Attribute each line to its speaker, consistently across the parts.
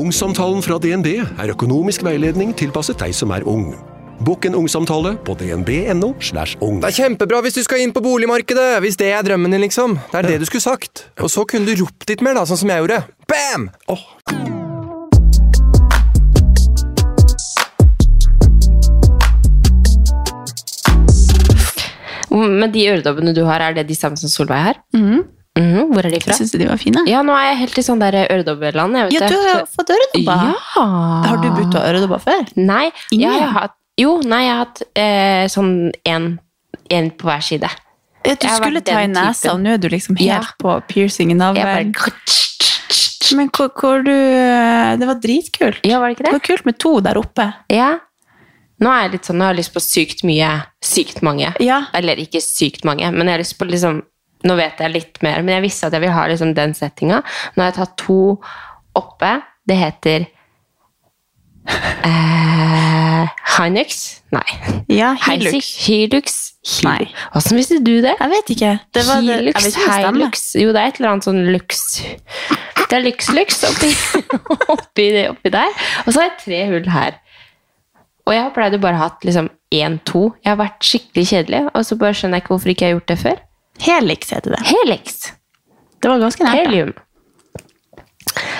Speaker 1: Ungsamtalen fra DNB er økonomisk veiledning tilpasset deg som er ung. Bokk en ungsamtale på dnb.no. slash ung.
Speaker 2: Det er kjempebra hvis du skal inn på boligmarkedet, hvis det er drømmen din, liksom. Det er det du skulle sagt. Og så kunne du ropt litt mer, da, sånn som jeg gjorde. Bam! Åh,
Speaker 3: Men de øredobbene du har, er det de samme som Solveig har?
Speaker 4: Mm-hmm.
Speaker 3: Mhm, Hvor er de fra?
Speaker 4: Syns du de var fine?
Speaker 3: Ja, nå er jeg helt i sånn der øredobbeland. jeg vet
Speaker 4: Ja,
Speaker 3: det.
Speaker 4: du har jo fått øredobber.
Speaker 3: Ja.
Speaker 4: Har du brukt øredobber før?
Speaker 3: Nei,
Speaker 4: Ingen?
Speaker 3: jeg har hatt Jo, nei, jeg har hatt eh, sånn én en på hver side.
Speaker 4: Ja, du
Speaker 3: Jeg har
Speaker 4: skulle
Speaker 3: vært
Speaker 4: ta i
Speaker 3: den
Speaker 4: nesa,
Speaker 3: typen.
Speaker 4: og nå er du liksom helt
Speaker 3: Ja.
Speaker 4: på piercing i
Speaker 3: Jeg
Speaker 4: navlen.
Speaker 3: bare
Speaker 4: Men hvor, hvor du eh, Det var dritkult.
Speaker 3: Ja, var det
Speaker 4: Det
Speaker 3: ikke
Speaker 4: var
Speaker 3: det?
Speaker 4: kult med to der oppe.
Speaker 3: Ja. Nå er jeg litt sånn, nå har jeg lyst på sykt mye. Sykt mange.
Speaker 4: Ja.
Speaker 3: Eller ikke sykt mange, men jeg har lyst på liksom Nå vet jeg litt mer, men jeg visste at jeg vil ha liksom den settinga. Nå har jeg tatt to oppe. Det heter eh, Hynux? Nei.
Speaker 4: Ja,
Speaker 3: Hilux.
Speaker 4: Hilux.
Speaker 3: Hilux.
Speaker 4: Nei.
Speaker 3: Hvordan visste du det?
Speaker 4: Jeg vet ikke. Det var det, jeg
Speaker 3: Hilux,
Speaker 4: vet ikke om det stemmer.
Speaker 3: Hilux. Jo, det er et eller annet sånn lux. Det er lux-lux oppi, oppi, oppi der. Og så har jeg tre hull her. Og jeg har pleid å bare hatt liksom én, to. Jeg har vært skikkelig kjedelig, og så bare skjønner jeg ikke hvorfor ikke jeg har gjort det før.
Speaker 4: Helix heter det.
Speaker 3: Helix.
Speaker 4: Det var ganske nært. da.
Speaker 3: Helium.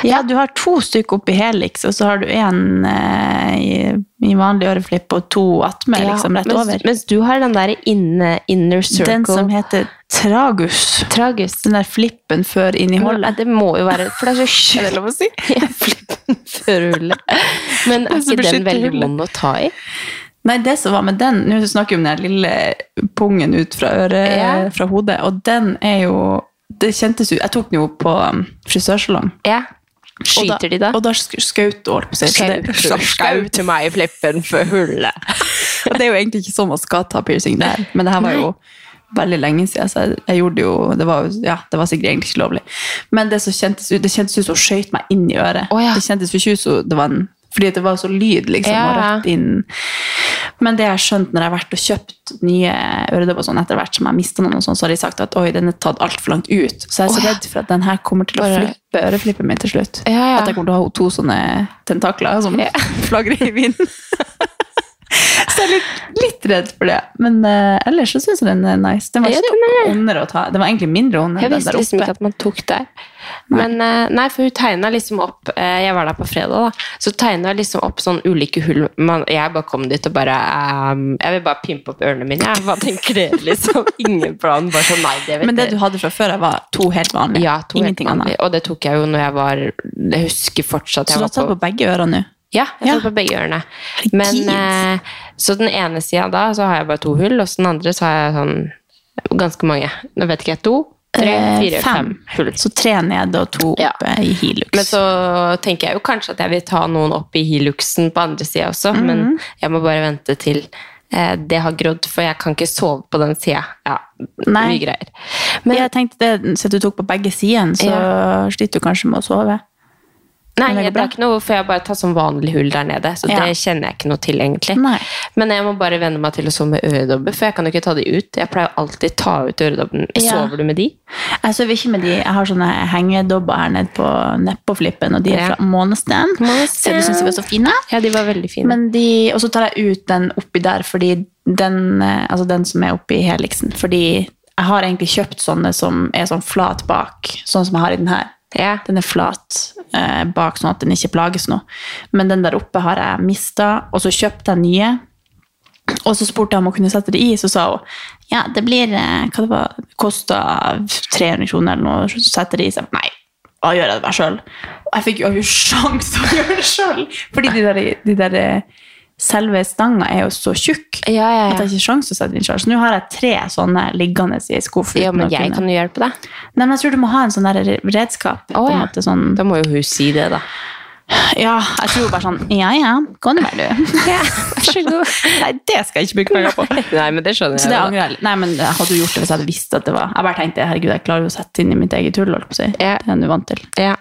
Speaker 4: Ja, du har to stykker oppi Helix, og så har du én eh, i, i vanlig øreflipp og to attmed,
Speaker 3: Ja,
Speaker 4: liksom, rett
Speaker 3: mens,
Speaker 4: over.
Speaker 3: Mens du har den derre inne, inner circle.
Speaker 4: Den som heter Tragus.
Speaker 3: Tragus.
Speaker 4: Den der flippen før inn i
Speaker 3: Nei,
Speaker 4: hullet.
Speaker 3: Det må jo være For det er så sjukt. Er det lov å si? Førhullet. Men er
Speaker 4: Den som
Speaker 3: ikke den
Speaker 4: beskytter
Speaker 3: veldig
Speaker 4: hullet.
Speaker 3: vond å ta i?
Speaker 4: Nei, det som var med den Nå snakker vi om den lille pungen ut fra øret,
Speaker 3: Ja.
Speaker 4: fra hodet, og den er jo Det kjentes ut Jeg tok den jo på um, frisørsalong.
Speaker 3: Ja.
Speaker 4: Og
Speaker 3: Skyter de da?
Speaker 4: Og da sk- skaut du, holdt på å si. Så det- sånn Skaut.
Speaker 3: til meg i flippen for hullet.
Speaker 4: Og det er jo egentlig ikke sånn man skal ta piercing der, men det her var jo veldig lenge siden, så jeg, jeg gjorde det jo det var, jo- ja, det var sikkert egentlig ikke lovlig. Men det, som kjentes, ut, det kjentes ut som hun skjøt meg inn i øret.
Speaker 3: Å, ja.
Speaker 4: Det kjentes jo ikke ut som det var en fordi det var så lyd, liksom,
Speaker 3: Ja,
Speaker 4: og
Speaker 3: ja.
Speaker 4: rett inn. Men det jeg har skjønt når jeg har vært og kjøpt nye øredobber og sånn etter hvert som jeg har mistet noen, og sånn, så har de sagt at oi, den er tatt altfor langt ut. Så jeg er så
Speaker 3: Å, ja.
Speaker 4: redd for at den her kommer til å
Speaker 3: Bare-
Speaker 4: flippe øreflippen min til slutt.
Speaker 3: Ja, ja.
Speaker 4: At jeg kommer til å ha to sånne tentakler som flagrer i vinden. så jeg er litt, litt redd for det. Men eh, ellers så syns jeg den er nice. Den var
Speaker 3: Ja,
Speaker 4: ikke noe ondere å ta. Den var egentlig mindre ond enn
Speaker 3: Jeg
Speaker 4: den
Speaker 3: visste
Speaker 4: der
Speaker 3: liksom ikke
Speaker 4: oppe.
Speaker 3: at man tok der. Men eh, nei, for hun tegna liksom opp eh, Jeg var der på fredag, da. Så tegna jeg liksom opp sånn ulike hull. Man, jeg bare kom dit og bare ehm, Jeg vil bare pimpe opp ørene mine. Jeg. Hva tenker dere, liksom? Ingen plan. Bare sånn, nei, det vet
Speaker 4: Men det
Speaker 3: dere.
Speaker 4: du hadde fra før, jeg var to helt vanlige.
Speaker 3: Ja, to helt
Speaker 4: Ingenting
Speaker 3: vanlige. Og det tok jeg jo når jeg var Jeg husker fortsatt
Speaker 4: Så
Speaker 3: jeg
Speaker 4: du har
Speaker 3: var
Speaker 4: tatt
Speaker 3: på
Speaker 4: på begge ørene nå?
Speaker 3: Ja, jeg
Speaker 4: Ja.
Speaker 3: tok på begge ørene. Men, eh, så den ene sida da, så har jeg bare to hull, og så den andre så har jeg sånn ganske mange. Nå vet ikke jeg. To, tre,
Speaker 4: Eh,
Speaker 3: fire, fem, hull.
Speaker 4: Så tre nede og to
Speaker 3: Ja.
Speaker 4: oppe i Hilux.
Speaker 3: Men så tenker jeg jo kanskje at jeg vil ta noen opp i hiluxen på andre sida også, men
Speaker 4: Mhm.
Speaker 3: jeg må bare vente til eh, det har grodd, for jeg kan ikke sove på den sida. Ja,
Speaker 4: Nei.
Speaker 3: mye greier. Men
Speaker 4: jeg tenkte det, Siden du tok på begge sidene, så sliter du kanskje med å sove.
Speaker 3: Nei,
Speaker 4: Men det
Speaker 3: det
Speaker 4: går
Speaker 3: er ikke noe, for jeg bare tar sånn vanlig hull der nede, så
Speaker 4: Ja.
Speaker 3: det kjenner jeg ikke noe til egentlig.
Speaker 4: Nei.
Speaker 3: Men jeg må bare vende meg til å sove med øredobber, for jeg kan jo ikke ta de ut. Jeg pleier alltid ta ut øredobben.
Speaker 4: Ja.
Speaker 3: Sover du med de?
Speaker 4: Jeg sover ikke med de. Jeg har sånne hengedobber her nede på neppeflippen, og de er
Speaker 3: Ja.
Speaker 4: fra Månestein. Så du syns de var så fine?
Speaker 3: Ja, de var veldig fine.
Speaker 4: Men de, og så tar jeg ut den oppi der, fordi den, eh, altså den som er oppi Helixen. Fordi jeg har egentlig kjøpt sånne som er sånn flat bak, sånn som jeg har i den her.
Speaker 3: ja.
Speaker 4: Den er flat eh, bak, sånn at den ikke plages nå. Men den der oppe har jeg mista, og så kjøpte jeg nye. Og så spurte jeg om hun kunne sette det i, så sa hun ja, det blir eh, hva det var, kosta 300 kroner eller noe, så setter det i. Så jeg, nei, da gjør jeg det meg sjøl. Og jeg fikk jo ikke sjans til å gjøre det sjøl! Fordi de der, de der eh, selve stanga er jo så tjukk.
Speaker 3: ja, ja,
Speaker 4: At
Speaker 3: ja.
Speaker 4: jeg ikke har sjans til å sette den sjøl. Så nå har jeg tre sånne liggende i skuffen.
Speaker 3: Ja,
Speaker 4: uten
Speaker 3: men
Speaker 4: å
Speaker 3: jeg
Speaker 4: kunne-
Speaker 3: kan jo hjelpe deg.
Speaker 4: Nei, men jeg tror du må ha en sånn der redskap. på
Speaker 3: Å,
Speaker 4: en
Speaker 3: ja.
Speaker 4: måte sånn
Speaker 3: Da må jo hun si det, da.
Speaker 4: Ja, jeg tror bare sånn Ja, ja, gå nå bare, du. Vær så god. Nei, det skal jeg ikke bruke penger på.
Speaker 3: Nei, men det skjønner jeg.
Speaker 4: Så det
Speaker 3: jo da.
Speaker 4: angrer jeg litt. Nei, men jeg hadde jo gjort det hvis jeg hadde visst at det var Jeg bare tenkte herregud, jeg klarer jo å sette inn i mitt eget hull, holdt på å si.
Speaker 3: Ja.
Speaker 4: Det er jeg nå vant til.
Speaker 3: Ja.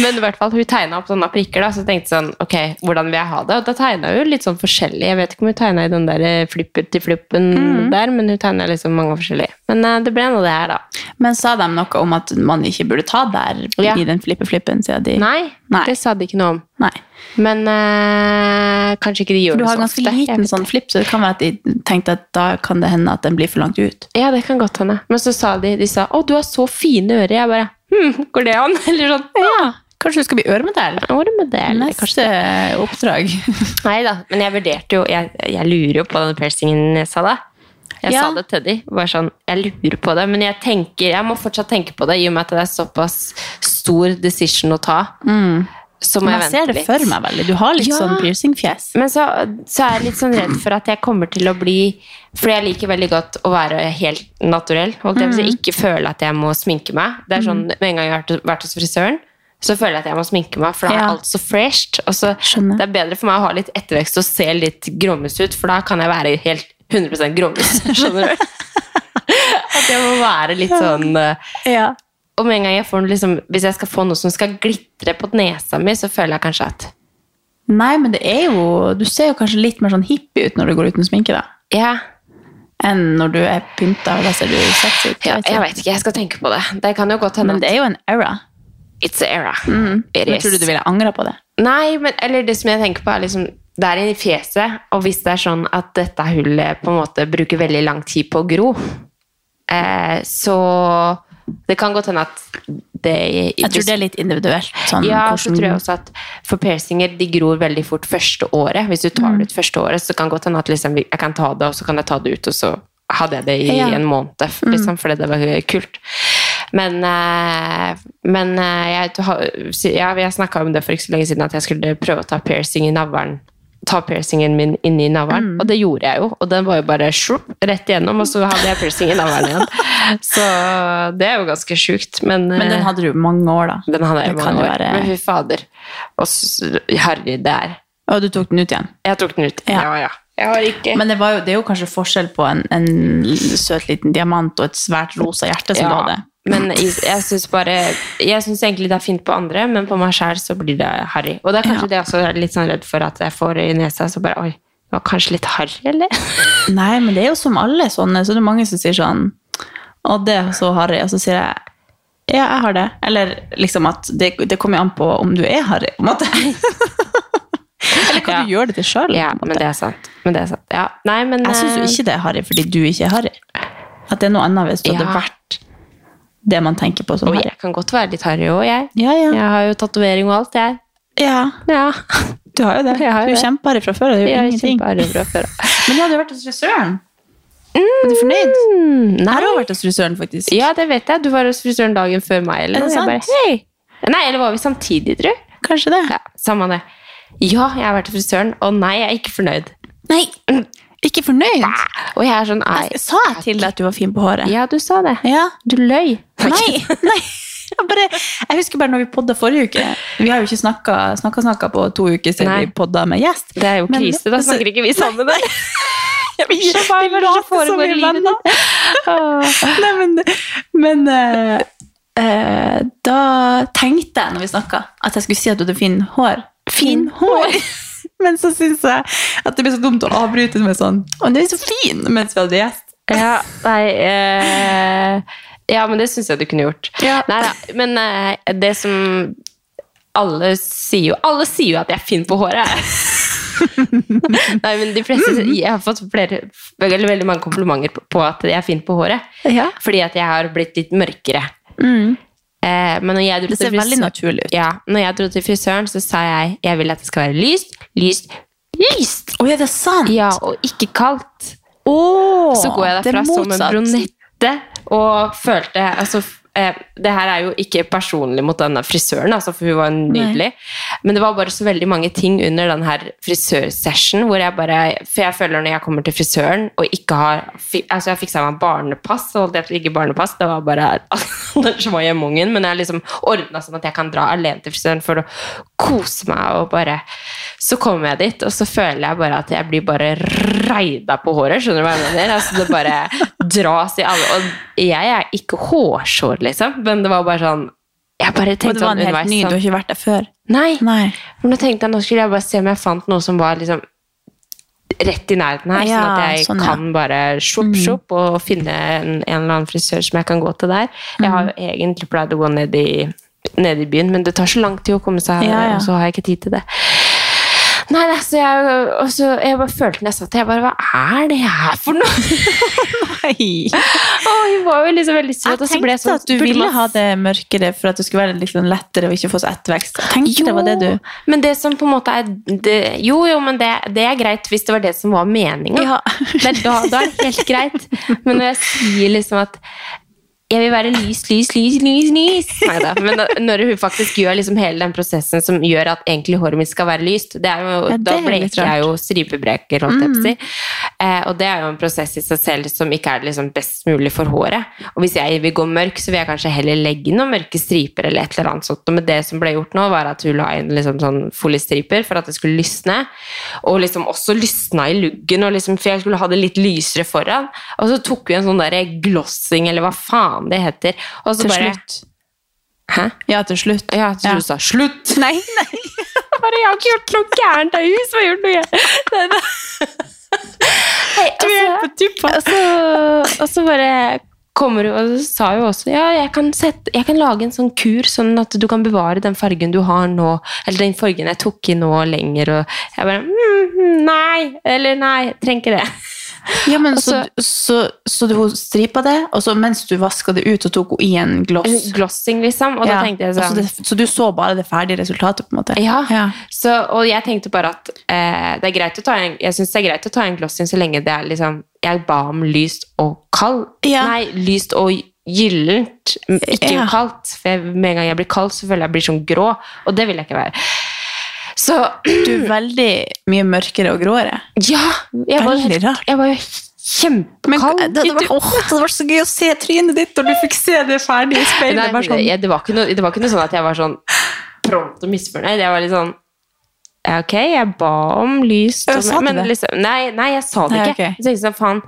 Speaker 3: Men i hvert fall, hun tegna opp sånne prikker, da, så tenkte jeg sånn Ok, hvordan vil jeg ha det? Og da tegna hun litt sånn forskjellig. Jeg vet ikke om hun tegna i den der eh, flipper til flippen
Speaker 4: Mm.
Speaker 3: der, men hun tegna liksom mange forskjellige. Men eh, det ble nå det her, da.
Speaker 4: Men sa de noe om at man ikke burde ta der
Speaker 3: Ja.
Speaker 4: i den flippe-flippen, siden de
Speaker 3: Nei,
Speaker 4: Nei.
Speaker 3: det sa de ikke noe om.
Speaker 4: Nei.
Speaker 3: Men eh, kanskje ikke de
Speaker 4: For
Speaker 3: gjør
Speaker 4: du
Speaker 3: det
Speaker 4: har
Speaker 3: så
Speaker 4: ganske
Speaker 3: ofte. Jeg
Speaker 4: liten
Speaker 3: vet
Speaker 4: sånn flipp, så det kan være at de tenkte at da kan det hende at den blir for langt ut.
Speaker 3: Ja, det kan godt hende. Men så sa de de sa, å, du har så fine ører. Jeg bare hm, går det an? Eller sånn.
Speaker 4: Ja, kanskje du skal bli øremodell?
Speaker 3: Hva var det med det? Eller, kanskje
Speaker 4: Neste oppdrag.
Speaker 3: Nei da, men jeg vurderte jo Jeg, jeg lurer jo på den piercingen jeg sa da. Jeg
Speaker 4: Ja.
Speaker 3: sa det til de. Bare sånn, jeg lurer på det, men jeg tenker Jeg må fortsatt tenke på det, i og med at det er såpass stor decision å ta. Så må
Speaker 4: Mm. Men
Speaker 3: jeg
Speaker 4: jeg
Speaker 3: vente
Speaker 4: ser det
Speaker 3: litt.
Speaker 4: for meg veldig. Du har litt
Speaker 3: Ja.
Speaker 4: sånn piercingfjes.
Speaker 3: Men så, så er jeg litt sånn redd for at jeg kommer til å bli For jeg liker veldig godt å være helt naturell. Holdt jeg, på å
Speaker 4: Mm.
Speaker 3: si. Ikke føle at jeg må sminke meg. Det er sånn, Med en gang jeg har vært- vært hos frisøren, så føler jeg at jeg må sminke meg, for da er
Speaker 4: Ja.
Speaker 3: alt så fresht. Og så,
Speaker 4: Skjønner.
Speaker 3: det er bedre for meg å ha litt ettervekst og se litt grommus ut, for da kan jeg være helt 100 grommus. Skjønner du? At jeg må være litt sånn eh,
Speaker 4: Ja.
Speaker 3: og med en gang jeg får noe liksom, Hvis jeg skal få noe som skal glitre på nesa mi, så føler jeg kanskje at
Speaker 4: Nei, men det er jo Du ser jo kanskje litt mer sånn hippie ut når du går uten sminke, da.
Speaker 3: Ja,
Speaker 4: Enn når du er pynta, og da ser du sexy ut.
Speaker 3: Ja, jeg vet ikke, jeg skal tenke på det. Det kan jo godt hende
Speaker 4: Men det er Mm. jo en era.
Speaker 3: at it's a era. Mm. It
Speaker 4: Men
Speaker 3: is.
Speaker 4: tror du du ville angra på det?
Speaker 3: Nei, men eller det som jeg tenker på er liksom, det er i fjeset, og hvis det er sånn at dette hullet på en måte bruker veldig lang tid på å gro, eh, så det kan godt hende at det...
Speaker 4: Jeg tror det er litt individuelt. Sånn,
Speaker 3: Ja,
Speaker 4: hvordan-
Speaker 3: så tror jeg også at for piercinger, de gror veldig fort første året. Hvis du
Speaker 4: Mm.
Speaker 3: tar det ut første året, så kan det godt hende at liksom, jeg kan ta det, og så kan jeg ta det ut, og så hadde jeg det i
Speaker 4: Ja. Mm.
Speaker 3: en måned, f- liksom, fordi det var kult. Men, eh, men eh, jeg, har- ja, jeg snakka om det for ikke så lenge siden, at jeg skulle prøve å ta piercing i navlen. Ta piercingen min inni
Speaker 4: Mm.
Speaker 3: navlen, og det gjorde jeg jo. Og den var jo bare shrup, rett igjennom, og så hadde jeg piercing i navlen igjen. Så det er jo ganske sjukt, men
Speaker 4: Men den
Speaker 3: eh,
Speaker 4: hadde du mange år, da.
Speaker 3: den hadde jeg i
Speaker 4: Det kan
Speaker 3: mange
Speaker 4: jo
Speaker 3: år.
Speaker 4: være-
Speaker 3: Men fy fader. Og s- herre der.
Speaker 4: Og du tok den ut igjen.
Speaker 3: Jeg tok den ut.
Speaker 4: Ja.
Speaker 3: Jeg har ikke
Speaker 4: Men det, var jo, det er jo kanskje forskjell på en, en søt liten diamant og et svært rosa hjerte som du
Speaker 3: ja.
Speaker 4: hadde.
Speaker 3: Men i- jeg syns bare Jeg syns egentlig det er fint på andre, men på meg sjæl så blir det harry. Og det er kanskje det jeg også er litt sånn redd for at jeg får i nesa, så bare Oi, det var kanskje litt harry, eller?
Speaker 4: Nei, men det er jo som alle sånne. Så det er mange som sier sånn Å, det er så harry. Og så sier jeg ja, jeg har det. Eller liksom at det, det kommer jo an på om du er harry, på en måte. Eller kan
Speaker 3: Ja.
Speaker 4: du gjøre det til sjøl?
Speaker 3: Ja, men det er sant. Men det er sant. Ja. Nei, men
Speaker 4: Jeg syns jo
Speaker 3: eh,
Speaker 4: ikke det er harry fordi du ikke er harry. At det er noe annet hvis du hadde
Speaker 3: Ja.
Speaker 4: vært det man tenker på som
Speaker 3: Og
Speaker 4: harry.
Speaker 3: jeg kan godt være litt harry òg, jeg.
Speaker 4: Ja, ja.
Speaker 3: Jeg har jo tatovering og alt, jeg.
Speaker 4: ja.
Speaker 3: Ja.
Speaker 4: Du har jo det. Du
Speaker 3: Jeg har jo
Speaker 4: er
Speaker 3: det.
Speaker 4: kjempeharry fra før. og Det er jo
Speaker 3: Jeg er
Speaker 4: ingenting.
Speaker 3: kjempeharry fra før av.
Speaker 4: Men du hadde jo vært hos frisøren. Er du fornøyd?
Speaker 3: Mm,
Speaker 4: Jeg har
Speaker 3: Nei.
Speaker 4: også vært hos frisøren, faktisk.
Speaker 3: Ja, det vet jeg. Du var hos frisøren dagen før meg. Eller?
Speaker 4: Er det
Speaker 3: noe. Jeg
Speaker 4: sant?
Speaker 3: Bare, hei. Nei, eller var vi samtidig, tror jeg?
Speaker 4: Kanskje det.
Speaker 3: Ja, samme det. Ja, jeg har vært hos frisøren, og nei, jeg er ikke fornøyd.
Speaker 4: Nei, ikke fornøyd?
Speaker 3: Og jeg er sånn, nei.
Speaker 4: Sa jeg til deg at du var fin på håret?
Speaker 3: Ja, du sa det.
Speaker 4: Ja.
Speaker 3: Du løy.
Speaker 4: Nei, nei. Jeg, bare, jeg husker bare når vi podda forrige uke. Vi har jo ikke snakka snakka, snakka på to uker siden
Speaker 3: Nei.
Speaker 4: vi podda med gjest.
Speaker 3: Det er jo
Speaker 4: Men- altså,
Speaker 3: krise, da snakker ikke vi sammen. Nei.
Speaker 4: Vi
Speaker 3: skjønner hva som foregår i livet ditt.
Speaker 4: Nei, men, men eh, eh, da tenkte jeg når vi snakka, at jeg skulle si at du hadde fin hår. Fin hår! men så syns jeg at det blir så dumt å avbryte med sånn Å, du er så fin! Mens vi hadde gjest.
Speaker 3: Ja, nei, eh, ja men det syns jeg du kunne gjort.
Speaker 4: Ja.
Speaker 3: Nei, da, men eh, det som alle sier jo Alle sier jo at jeg er fin på håret! Nei, men de fleste Jeg har fått flere, eller veldig mange komplimenter på- på at jeg er fin på håret.
Speaker 4: Ja. Mm.
Speaker 3: Fordi at jeg har blitt litt mørkere. Eh, men når jeg dro
Speaker 4: Det ser
Speaker 3: til
Speaker 4: veldig
Speaker 3: frisøren-
Speaker 4: naturlig ut.
Speaker 3: Ja, når jeg dro til frisøren, så sa jeg jeg vil at det skal være lyst, lyst, lyst!
Speaker 4: Å ja, det er sant!
Speaker 3: Ja, og ikke kaldt.
Speaker 4: Åh,
Speaker 3: Så går jeg
Speaker 4: det er
Speaker 3: derfra som en
Speaker 4: motsatt.
Speaker 3: brunette og følte altså, f- eh, Det her er jo ikke personlig mot denne frisøren, altså, for hun var jo nydelig. Men det var bare så veldig mange ting under den her frisørsession hvor jeg bare For jeg føler når jeg kommer til frisøren og ikke har fi- Altså, jeg fiksa meg barnepass, og holdt jeg på å ikke barnepass, det var bare arrangement hjemme ungen, men jeg har liksom ordna sånn at jeg kan dra alene til frisøren for å kose meg og bare Så kommer jeg dit, og så føler jeg bare at jeg blir bare reida på håret, skjønner du hva jeg mener? Altså, det bare dras i alle Og jeg er ikke hårsår, liksom, men det var bare sånn jeg bare
Speaker 4: Og
Speaker 3: tenkte
Speaker 4: det var
Speaker 3: sånn
Speaker 4: en helt
Speaker 3: underveis
Speaker 4: ny, du
Speaker 3: sånn,
Speaker 4: har ikke vært der før.
Speaker 3: Nei.
Speaker 4: Nei.
Speaker 3: Men nå tenkte jeg, nå skulle jeg bare se om jeg fant noe som var liksom rett i nærheten her, sånn
Speaker 4: Ja,
Speaker 3: at jeg
Speaker 4: sånn, ja. Mm.
Speaker 3: kan bare sjopp, sjopp og finne en, en eller annen frisør som jeg kan gå til der. Jeg har jo
Speaker 4: Mm.
Speaker 3: egentlig pleid å gå ned i, ned i byen, men det tar så lang tid å komme seg her,
Speaker 4: Ja, ja.
Speaker 3: og så har jeg ikke tid til det. Nei, nei, så jeg, og så jeg bare følte når jeg satt her, jeg bare, hva er det her for noe? Og hun var jo liksom veldig søt,
Speaker 4: Jeg
Speaker 3: og så
Speaker 4: tenkte
Speaker 3: ble jeg sånn,
Speaker 4: at du ville
Speaker 3: masse-
Speaker 4: ha det mørkere for at det skulle være litt sånn lettere og ikke få så ettervekst. Jeg tenkte det var det du...
Speaker 3: men det som på en måte er det, Jo, jo, men det, det er greit hvis det var det som var meninga.
Speaker 4: Ja.
Speaker 3: Men da, da er det helt greit. Men når jeg sier liksom at jeg vil være lys, lys, lys, lys, lys. Neida. Men da- når hun faktisk gjør liksom hele den prosessen som gjør at egentlig håret mitt skal være lyst, det er jo,
Speaker 4: Ja, det
Speaker 3: da
Speaker 4: er litt
Speaker 3: bleker
Speaker 4: rart.
Speaker 3: jeg jo stripebreker, holdt
Speaker 4: Mm.
Speaker 3: jeg på å si. Eh, og det er jo en prosess i seg selv som ikke er liksom best mulig for håret. Og hvis jeg vil gå mørk, så vil jeg kanskje heller legge inn noen mørke striper eller et eller annet sånt. Men det som ble gjort nå, var at hun la inn liksom sånn foliestriper for at det skulle lysne. Og liksom også lysna i luggen, og liksom, for jeg skulle ha det litt lysere foran. Og så tok vi en sånn der glossing, eller hva faen det heter. Og så
Speaker 4: Til
Speaker 3: bare
Speaker 4: slutt.
Speaker 3: Hæ?
Speaker 4: Ja, til slutt.
Speaker 3: Ja, til
Speaker 4: Ja.
Speaker 3: du sa slutt.
Speaker 4: Nei, nei.
Speaker 3: Bare, jeg har ikke gjort noe gærent, det er hun som har gjort noe gærent. Nei, nei. Hei, altså, og så, og så bare kommer hun, og så sa hun også, ja, jeg kan, sette, jeg kan lage en sånn kur, sånn at du kan bevare den fargen du har nå, eller den fargen jeg tok i nå lenger, og jeg bare, mm, mm, nei, eller nei, trenger ikke det.
Speaker 4: Ja, men
Speaker 3: Altså-
Speaker 4: så, så, så du stripa det, og så mens du vaska det ut og tok i en gloss
Speaker 3: Glossing, liksom, og
Speaker 4: Ja,
Speaker 3: da tenkte jeg
Speaker 4: og så,
Speaker 3: sånn,
Speaker 4: det, så du så bare det ferdige resultatet, på en måte?
Speaker 3: Ja. Så, og jeg tenkte bare at eh, det er greit å ta en, jeg syns det er greit å ta en glossing så lenge det er liksom Jeg ba om lyst og kald.
Speaker 4: Ja.
Speaker 3: Nei, lyst og gyllent, m- ikke
Speaker 4: Ja.
Speaker 3: kaldt. For jeg, med en gang jeg blir kald, så føler jeg jeg blir sånn grå, og det vil jeg ikke være. Så
Speaker 4: Du er veldig mye mørkere og gråere.
Speaker 3: ja! Jeg var,
Speaker 4: Veldig rart. eh,
Speaker 3: jeg var jo kjempekald.
Speaker 4: det, hadde vært, åh, det hadde vært så gøy å se trynet ditt når du fikk se det ferdig i speilet.
Speaker 3: Nei,
Speaker 4: bare sånn,
Speaker 3: jeg, det, var ikke noe, det var ikke noe sånn at jeg var sånn prompt og misfornøyd. Jeg var litt sånn ja, Ok, jeg ba om lys
Speaker 4: Ja, sa du
Speaker 3: men
Speaker 4: det?
Speaker 3: liksom, nei, nei, jeg sa det
Speaker 4: Nei,
Speaker 3: ikke.
Speaker 4: ok.
Speaker 3: Jeg tenkte sånn, faen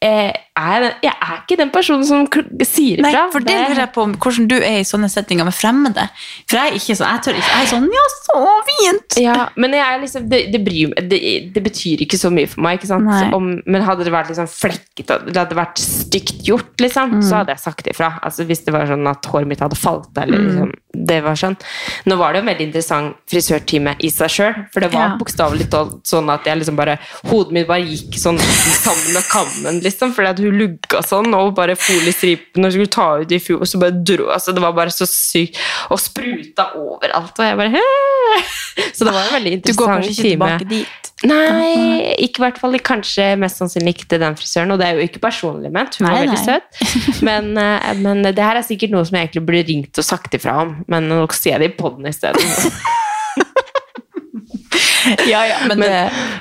Speaker 3: eh, er jeg, den- jeg er ikke den personen som kl- sier
Speaker 4: Nei,
Speaker 3: ifra.
Speaker 4: for det lurer jeg på om hvordan du er i sånne settinger med fremmede. For jeg er ikke sånn, jeg tør ikke. Jeg er sånn, ja, så fint!
Speaker 3: ja, men jeg er liksom, det, det, bryr, meg- det, det betyr ikke så mye for meg. Ikke sant?
Speaker 4: Nei.
Speaker 3: Om, men hadde det vært liksom flekket og det hadde vært stygt gjort, liksom,
Speaker 4: Mm.
Speaker 3: så hadde jeg sagt ifra. Altså, hvis det var sånn at håret mitt hadde falt.
Speaker 4: Mm.
Speaker 3: Eller, liksom, det var sånn. Nå var det jo en veldig interessant frisørtime i seg sjøl. For det var
Speaker 4: Ja.
Speaker 3: bokstavelig talt sånn at jeg liksom bare, hodet mitt bare gikk sånn sammen med kammen. Liksom, fordi at hun lugga sånn, og bare foliestripen og skulle ta ut i fjor. Og så bare dro, altså, det var bare så sykt. Og spruta overalt. Og jeg bare «Hæ?» Så det var en veldig
Speaker 4: Du går kanskje
Speaker 3: interessant
Speaker 4: ikke
Speaker 3: time.
Speaker 4: tilbake dit.
Speaker 3: Nei, ikke i hvert fall. Kanskje mest sannsynlig ikke til den frisøren. Og det er jo ikke personlig ment, hun
Speaker 4: Nei,
Speaker 3: var veldig
Speaker 4: nei.
Speaker 3: søt. Men, eh, men det her er sikkert noe som jeg egentlig burde ringt og sagt ifra om. Men nå sier jeg det i poden isteden.
Speaker 4: Ja, ja, men, det,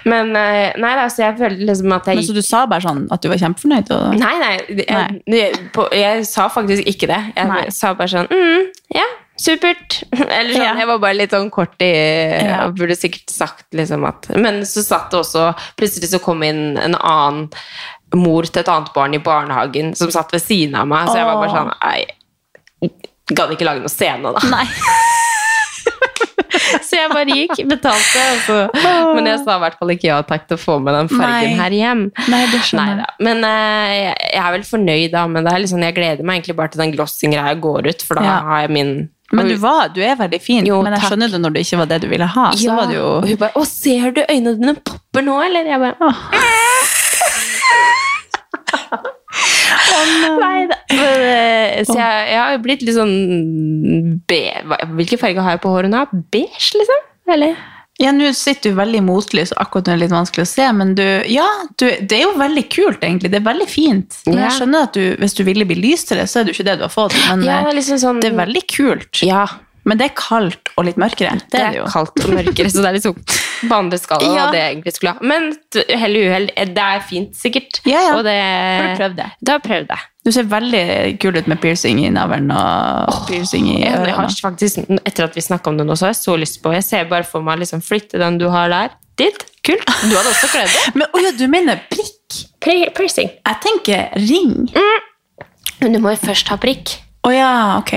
Speaker 3: Men eh, nei da, så jeg følte liksom at jeg
Speaker 4: men så du sa bare sånn at du var kjempefornøyd? Og,
Speaker 3: Nei, nei. Jeg, jeg, på, jeg sa faktisk ikke det. Jeg
Speaker 4: Nei.
Speaker 3: sa bare sånn mm, Ja, supert. Eller sånn.
Speaker 4: Ja.
Speaker 3: Jeg var bare litt sånn kort i
Speaker 4: Ja.
Speaker 3: og Burde sikkert sagt liksom at Men så satt det også Plutselig så kom inn en annen mor til et annet barn i barnehagen som satt ved siden av meg, så jeg var bare sånn Nei, gadd ikke lage noe scene, da.
Speaker 4: Nei.
Speaker 3: Så jeg bare gikk, betalte, og så Men jeg sa i hvert fall ikke ja takk til å få med den fargen
Speaker 4: Nei.
Speaker 3: her hjem.
Speaker 4: Nei, det skjønner
Speaker 3: Neida. Men eh, jeg, jeg er vel fornøyd, da. Men det er liksom, jeg gleder meg egentlig bare til den glossing-greia går ut, for da
Speaker 4: Ja.
Speaker 3: har jeg min
Speaker 4: Men du, var, altså- du er veldig fin,
Speaker 3: Jo,
Speaker 4: men jeg
Speaker 3: takk.
Speaker 4: skjønner det når det ikke var det du ville ha. Så var det jo...
Speaker 3: Og hun bare 'Å, ser du øynene dine popper nå', eller? Jeg bare Nei da. Men, eh, Så jeg, jeg har jo blitt litt sånn be... hva- Hvilken farge har jeg på håret nå? Beige, liksom? Eller?
Speaker 4: Ja, nå sitter du veldig i motlys, og akkurat nå er det litt vanskelig å se, men du Ja, du, det er jo veldig kult, egentlig. Det er veldig fint. Men jeg
Speaker 3: Ja.
Speaker 4: skjønner at du, hvis du ville bli lysere, så er det jo ikke det du har fått. Men
Speaker 3: Ja,
Speaker 4: eh,
Speaker 3: det er liksom sånn
Speaker 4: det er veldig kult.
Speaker 3: Ja.
Speaker 4: Men det er kaldt og litt mørkere. Det,
Speaker 3: Det
Speaker 4: er det
Speaker 3: er
Speaker 4: jo.
Speaker 3: kaldt og mørkere, så det er liksom på andre skala enn
Speaker 4: Ja.
Speaker 3: hva det egentlig skulle ha. Men t- hell i uhell, eh, det er fint sikkert.
Speaker 4: Ja, ja.
Speaker 3: Og det,
Speaker 4: Har du prøvd det?
Speaker 3: Det har jeg prøvd det.
Speaker 4: Du ser veldig kul ut med piercing i navlen og piercing i
Speaker 3: Jeg
Speaker 4: ørene.
Speaker 3: har faktisk, etter at vi snakket om det nå, så har jeg så lyst på. Jeg ser bare for meg liksom flytte den du har der, dit. Kult. Du hadde også kledd det.
Speaker 4: Men åja, du mener prikk?
Speaker 3: Pri- Piercing.
Speaker 4: Jeg tenker ring.
Speaker 3: Mm. Men du må jo først ha prikk.
Speaker 4: Å ja, ok.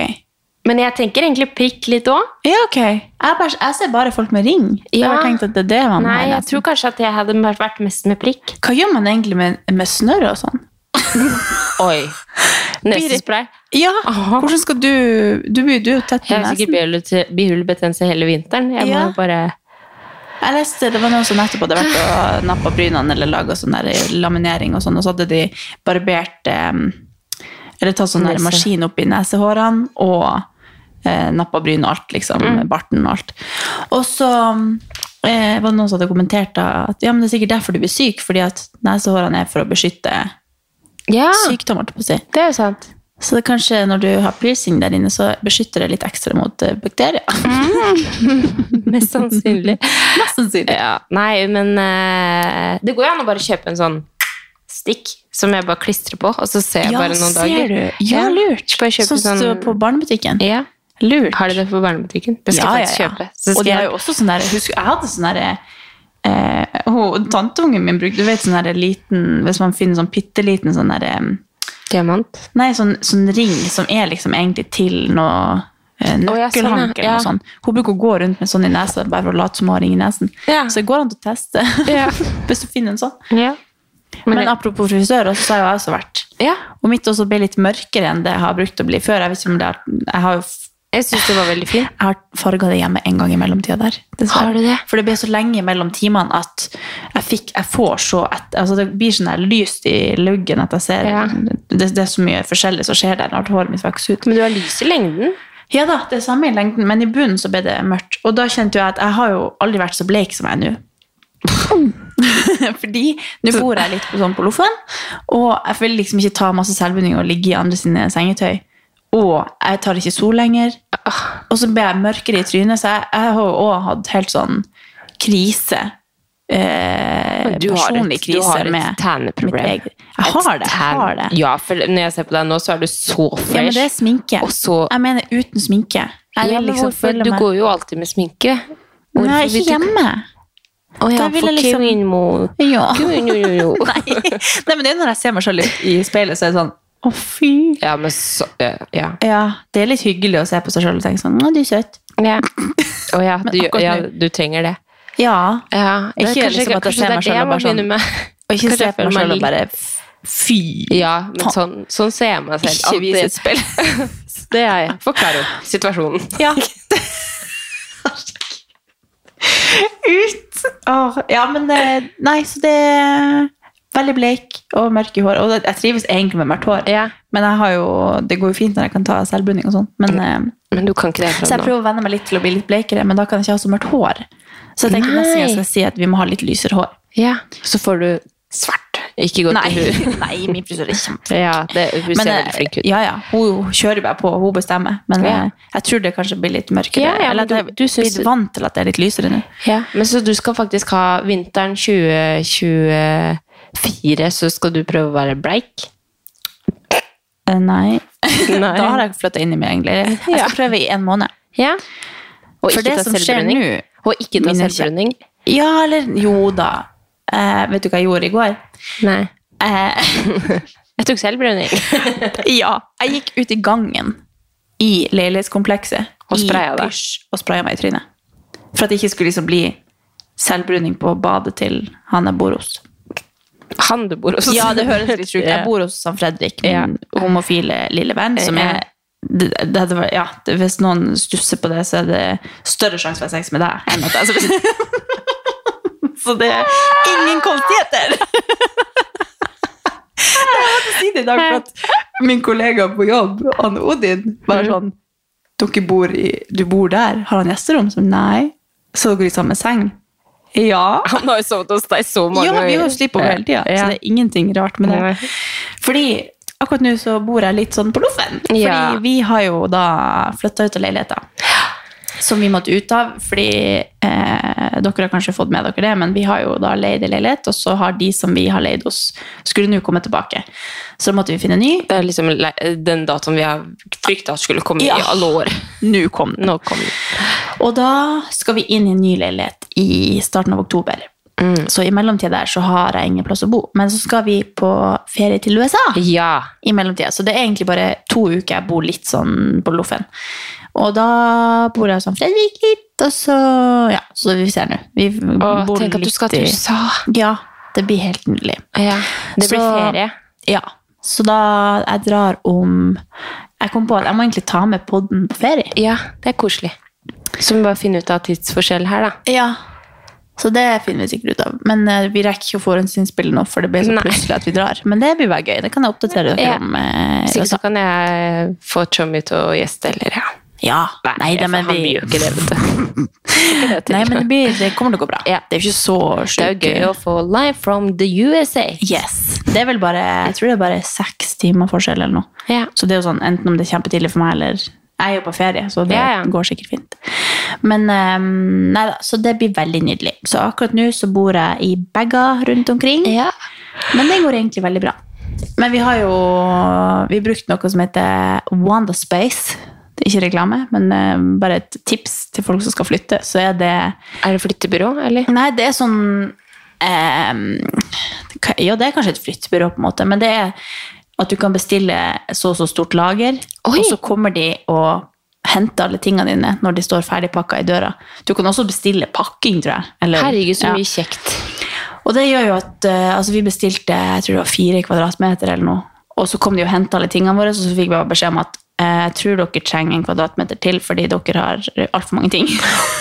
Speaker 3: Men jeg tenker egentlig prikk litt også.
Speaker 4: Ja, ok. Jeg, bare, jeg ser bare folk med ring. Jeg
Speaker 3: Ja.
Speaker 4: har tenkt at det er det man
Speaker 3: Nei,
Speaker 4: har
Speaker 3: jeg
Speaker 4: nesten.
Speaker 3: tror kanskje at jeg hadde vært mest med prikk.
Speaker 4: Hva gjør man egentlig med, med snørr og sånn?
Speaker 3: Oi. Nesespray.
Speaker 4: Ja,
Speaker 3: Aha.
Speaker 4: hvordan skal du Du blir jo tett i
Speaker 3: Jeg har sikkert
Speaker 4: nesen.
Speaker 3: bihule- bihulebetennelse hele vinteren. Jeg må
Speaker 4: Ja.
Speaker 3: jo bare...
Speaker 4: Jeg leste, Det var noen som nettopp hadde vært
Speaker 3: Ah.
Speaker 4: og nappa brynene eller laga sånn der laminering, og sånn, og så hadde de barbert eh, Eller tatt sånn der
Speaker 3: Nese.
Speaker 4: maskin opp i nesehårene og eh, nappa bryn og alt, liksom.
Speaker 3: Mm.
Speaker 4: Barten og alt. Og så eh, var det noen som hadde kommentert da, at ja, men det er sikkert derfor du blir syk, fordi at nesehårene er for å beskytte
Speaker 3: Ja,
Speaker 4: sykdom, holdt jeg på å si.
Speaker 3: det er jo sant.
Speaker 4: Så det er kanskje når du har piercing der inne, så beskytter det litt ekstra mot eh, bakterier.
Speaker 3: Mest sannsynlig.
Speaker 4: Mest sannsynlig.
Speaker 3: Ja, nei, men eh, det går jo an å bare kjøpe en sånn stikk som jeg bare klistrer på, og så ser jeg
Speaker 4: Ja,
Speaker 3: bare noen
Speaker 4: ser
Speaker 3: dager.
Speaker 4: du. Ja, lurt.
Speaker 3: Bare kjøpe
Speaker 4: Sånn som
Speaker 3: sånn...
Speaker 4: står på barnebutikken.
Speaker 3: Ja.
Speaker 4: Lurt.
Speaker 3: Har de det på barnebutikken? Det skal jeg faktisk kjøpe. Så
Speaker 4: Og
Speaker 3: skal
Speaker 4: de har
Speaker 3: jeg...
Speaker 4: jo også sånn der, husk, jeg hadde sånn der, eh, hun- tanteungen min brukte, du vet sånn der liten, hvis man finner sånn pitteliten sånn der, eh,
Speaker 3: Diamant.
Speaker 4: nei, sånn, sånn ring som er liksom egentlig til noe eh,
Speaker 3: Å, ja, sånn, ja.
Speaker 4: nøkkelhanke eller
Speaker 3: Ja.
Speaker 4: noe sånn. Hun bruker å gå rundt med sånn i nesa, bare for å late som hun har ring i nesen.
Speaker 3: Ja.
Speaker 4: Så det går an til å teste,
Speaker 3: Ja.
Speaker 4: hvis du finner en sånn.
Speaker 3: Ja.
Speaker 4: Men,
Speaker 3: Men
Speaker 4: apropos frisører, så har jeg også vært.
Speaker 3: ja.
Speaker 4: Og mitt også ble litt mørkere enn det jeg har brukt å bli før. Jeg, vet ikke om det er, jeg har jo
Speaker 3: Jeg synes det var veldig fint.
Speaker 4: jeg har farga det hjemme en gang i mellomtida der. dessverre.
Speaker 3: Har du det?
Speaker 4: For det ble så lenge mellom timene at jeg, fikk, jeg får så et, altså Det blir sånn der lyst i luggen at jeg ser
Speaker 3: Ja.
Speaker 4: det, det er så mye forskjellig som skjer der når håret mitt vokser ut.
Speaker 3: Men du har lys i lengden.
Speaker 4: Ja da, det er samme i lengden, men i bunnen så ble det mørkt. Og da kjente jeg at jeg har jo aldri vært så bleik som jeg er nå. Fordi nå bor jeg litt på, sånn på Lofoten, og jeg vil liksom ikke ta masse selvbinding og ligge i andre sine sengetøy. Og jeg tar ikke sol lenger. Og så ble jeg mørkere i trynet, så jeg, jeg har jo også hatt helt sånn krise. Eh,
Speaker 3: Du har
Speaker 4: personlig
Speaker 3: et, du
Speaker 4: krise
Speaker 3: har
Speaker 4: med
Speaker 3: et tanneproblem.
Speaker 4: mitt eget- Jeg har det, jeg har det.
Speaker 3: Ja, for når jeg ser på deg nå, så er du så fresh.
Speaker 4: Ja, men det er sminke.
Speaker 3: Og så-
Speaker 4: Jeg mener uten sminke. Jeg
Speaker 3: Ja,
Speaker 4: vil
Speaker 3: men
Speaker 4: liksom
Speaker 3: hvorfor?
Speaker 4: føle
Speaker 3: Du
Speaker 4: meg-
Speaker 3: går jo alltid med sminke. Hvorfor
Speaker 4: Nei,
Speaker 3: vil
Speaker 4: ikke
Speaker 3: du-
Speaker 4: hjemme.
Speaker 3: Å ja,
Speaker 4: Da vil
Speaker 3: for
Speaker 4: jeg liksom-
Speaker 3: kvinnen må-
Speaker 4: Ja.
Speaker 3: Kvinnen, jo, jo, jo.
Speaker 4: Nei. Nei, men det er når jeg ser meg selv i, i speilet, så er det sånn Å, fy.
Speaker 3: Ja, men så eh, Ja.
Speaker 4: Ja, det er litt hyggelig å se på seg selv og tenke sånn Å, du er søt.
Speaker 3: ja. Å ja,
Speaker 4: Men
Speaker 3: du,
Speaker 4: akkurat
Speaker 3: ja,
Speaker 4: nå-
Speaker 3: du trenger det.
Speaker 4: Ja.
Speaker 3: Ja, det er
Speaker 4: Ikke
Speaker 3: kanskje,
Speaker 4: liksom at jeg
Speaker 3: kanskje
Speaker 4: ser
Speaker 3: det er
Speaker 4: meg
Speaker 3: det
Speaker 4: selv
Speaker 3: jeg
Speaker 4: og
Speaker 3: må
Speaker 4: bare sånn-
Speaker 3: begynne med.
Speaker 4: Og ikke
Speaker 3: Kanskje
Speaker 4: se
Speaker 3: jeg
Speaker 4: på
Speaker 3: føler
Speaker 4: meg selv
Speaker 3: meg
Speaker 4: og bare Fy. Altså,
Speaker 3: Ja, men sånn, sånn ser jeg meg selv.
Speaker 4: Ikke vis et
Speaker 3: alltid.
Speaker 4: spill.
Speaker 3: Det er jeg. Forklarer jo situasjonen.
Speaker 4: Ja. Ut! Åh, ja, men eh, Nei, så det er veldig bleik og mørk i håret. Og det- jeg trives egentlig med mørkt hår,
Speaker 3: Ja.
Speaker 4: men jeg har jo, det går jo fint når jeg kan ta selvbunding og sånn. Men, eh,
Speaker 3: Men du kan ikke det
Speaker 4: så jeg
Speaker 3: fra nå.
Speaker 4: prøver å venne meg litt til å bli litt bleikere, men da kan jeg ikke ha så mørkt hår. Så jeg tenker nesten jeg
Speaker 3: Nei.
Speaker 4: skal si at vi må ha litt lysere hår.
Speaker 3: Ja. Så får du svart. Ikke gå til
Speaker 4: Nei,
Speaker 3: hud.
Speaker 4: nei min frisør er kjempe...
Speaker 3: Ja, det, hun ser
Speaker 4: Men, eh,
Speaker 3: veldig flink ut.
Speaker 4: ja, ja, hun kjører bare på, hun bestemmer. Men
Speaker 3: Ja.
Speaker 4: eh, jeg tror det kanskje blir litt mørkere.
Speaker 3: Ja, ja,
Speaker 4: eller at
Speaker 3: men
Speaker 4: jeg
Speaker 3: du- du synes-
Speaker 4: blir vant til at det er litt lysere nå.
Speaker 3: Ja, men så du skal faktisk ha vinteren 2024, så skal du prøve å være bleik?
Speaker 4: Eh, Nei.
Speaker 3: Nei.
Speaker 4: Da har jeg flytta inn i meg, egentlig. Jeg skal
Speaker 3: Ja.
Speaker 4: prøve i en måned.
Speaker 3: Ja. Og
Speaker 4: For
Speaker 3: ikke
Speaker 4: det
Speaker 3: ta
Speaker 4: som skjer
Speaker 3: selvbrenning.
Speaker 4: nå-
Speaker 3: Og ikke ta
Speaker 4: Mine kjæ-
Speaker 3: selvbrenning.
Speaker 4: Ja, eller Jo da. Eh, vet du hva jeg gjorde i går?
Speaker 3: Nei.
Speaker 4: Eh,
Speaker 3: Jeg tok selvbrenning.
Speaker 4: ja, jeg gikk ut i gangen i leilighetskomplekset.
Speaker 3: Og
Speaker 4: i
Speaker 3: spraya deg.
Speaker 4: pysj, Og spraya meg i trynet. For at det ikke skulle liksom bli selvbruning på badet til han jeg bor hos.
Speaker 3: Han du bor hos.
Speaker 4: Ja, det høres litt sjukt. Jeg bor hos San Fredrik, min homofile lille venn, som
Speaker 3: Ja.
Speaker 4: er det, det, hadde vært- ja, det, hvis noen stusser på det, så er det større sjanse for at jeg har sex med deg enn at jeg skal Så det er ingen konstigheter! Jeg måtte si det i dag, for at min kollega på jobb, han Odin,
Speaker 3: Mm.
Speaker 4: var sånn dere bor i, Du bor der? Har han gjesterom? Så, nei. Så dere i samme seng? Ja.
Speaker 3: Han har jo sovet hos deg så mange
Speaker 4: Ja, vi har jo slipp over hele tida, så det er ingenting rart med det.
Speaker 3: Nei.
Speaker 4: Fordi akkurat nå så bor jeg litt sånn på loffen. Fordi
Speaker 3: Ja.
Speaker 4: vi har jo da flytta ut av leiligheta. Som vi måtte ut av, fordi eh, dere har kanskje fått med dere det, men vi har jo da leid i leilighet, og så har de som vi har leid hos, skulle nå komme tilbake. Så da måtte vi finne en ny.
Speaker 3: Det er liksom le- den datoen vi har frykta skulle komme
Speaker 4: Ja.
Speaker 3: i alle år.
Speaker 4: Nå kom den.
Speaker 3: Nå kom den.
Speaker 4: Og da skal vi inn i en ny leilighet i starten av oktober.
Speaker 3: Mm.
Speaker 4: Så i mellomtida der så har jeg ingen plass å bo. Men så skal vi på ferie til USA.
Speaker 3: Ja.
Speaker 4: i mellomtida. Så det er egentlig bare to uker jeg bor litt sånn på loffen. Og da bor jeg sånn Fredrik litt, og så Ja, så vi ser nå. Vi
Speaker 3: Og
Speaker 4: bor
Speaker 3: tenk at du
Speaker 4: litt
Speaker 3: skal til
Speaker 4: i-
Speaker 3: USA.
Speaker 4: Ja, det blir helt nydelig.
Speaker 3: Ja. Det blir
Speaker 4: Så-
Speaker 3: ferie.
Speaker 4: Ja. Så da jeg drar om Jeg kom på at jeg må egentlig ta med podden på ferie.
Speaker 3: Ja, det er koselig. Så vi bare finne ut av tidsforskjell her, da.
Speaker 4: Ja. Så det finner vi sikkert ut av. Men eh, vi rekker ikke å forhåndsinnspille nå, for det blir så
Speaker 3: Nei.
Speaker 4: plutselig at vi drar. Men det blir bare gøy. Det kan jeg oppdatere dere
Speaker 3: Ja.
Speaker 4: om. eh, i
Speaker 3: Sikkert
Speaker 4: USA.
Speaker 3: så kan jeg få Tommy til å gjeste, eller ja.
Speaker 4: Ja. Nei, da,
Speaker 3: for
Speaker 4: men
Speaker 3: han
Speaker 4: vi
Speaker 3: blir jo ikke det, vet du. Ikke det til.
Speaker 4: Nei, men det, blir, det kommer til å gå bra.
Speaker 3: Ja.
Speaker 4: Det er jo ikke så sjukt.
Speaker 3: det er jo gøy å få live from the USA.
Speaker 4: Yes. Det er vel bare jeg tror det er bare seks timer forskjell eller noe.
Speaker 3: Ja.
Speaker 4: Så det er jo sånn, enten om det er kjempetidlig for meg, eller Jeg er jo på ferie, så det
Speaker 3: Ja, ja.
Speaker 4: går sikkert fint. Men ehm, nei da, så det blir veldig nydelig. Så akkurat nå så bor jeg i bager rundt omkring.
Speaker 3: Ja.
Speaker 4: Men det går egentlig veldig bra. Men vi har jo vi har brukt noe som heter Wanda Space. Det er ikke reklame, men eh, bare et tips til folk som skal flytte. Så er det
Speaker 3: Er det flyttebyrå, eller?
Speaker 4: Nei, det er sånn ehm, ka- Ja, det er kanskje et flyttebyrå, på en måte, men det er at du kan bestille så og så stort lager,
Speaker 3: Oi!
Speaker 4: og så kommer de og henter alle tingene dine når de står ferdig pakka i døra. Du kan også bestille pakking, tror jeg. eller-
Speaker 3: Herregud, så
Speaker 4: Ja.
Speaker 3: mye kjekt.
Speaker 4: Og det gjør jo at eh, altså vi bestilte jeg tror det var fire kvadratmeter eller noe, og så kom de og hentet alle tingene våre, og så fikk vi bare beskjed om at eh, jeg tror dere trenger en kvadratmeter til, fordi dere har altfor mange ting.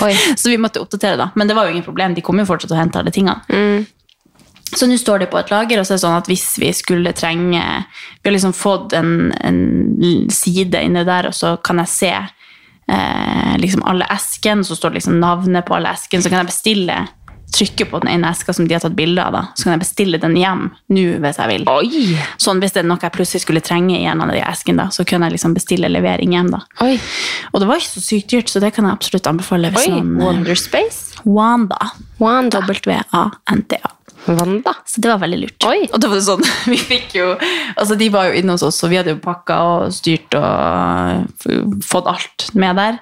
Speaker 3: Oi.
Speaker 4: så vi måtte oppdatere da. Men det var jo ingen problem, de kom jo fortsatt og hentet alle tingene. Så nå står det på et lager, og så er det sånn at hvis vi skulle trenge Vi har liksom fått en, en side inne der, og så kan jeg se eh, liksom alle esken, så står det liksom navnet på alle esken, så kan jeg bestille Trykke på den ene eska som de har tatt bilde av, da. så kan jeg bestille den hjem nå hvis jeg vil.
Speaker 3: Oi!
Speaker 4: Sånn Hvis det er noe jeg plutselig skulle trenge i en av de eskene, da, så kunne jeg liksom bestille levering hjem. da.
Speaker 3: Oi.
Speaker 4: Og det var ikke så sykt dyrt, så det kan jeg absolutt anbefale. Hvis
Speaker 3: Oi.
Speaker 4: man,
Speaker 3: Wonder Space.
Speaker 4: Wanda.
Speaker 3: Wanda.
Speaker 4: W-A-N-T-A.
Speaker 3: Wanda.
Speaker 4: Så det var veldig lurt.
Speaker 3: Oi.
Speaker 4: Og det var sånn, vi fikk jo, altså De var jo inne hos oss, og vi hadde jo pakka og styrt og f- fått alt med der.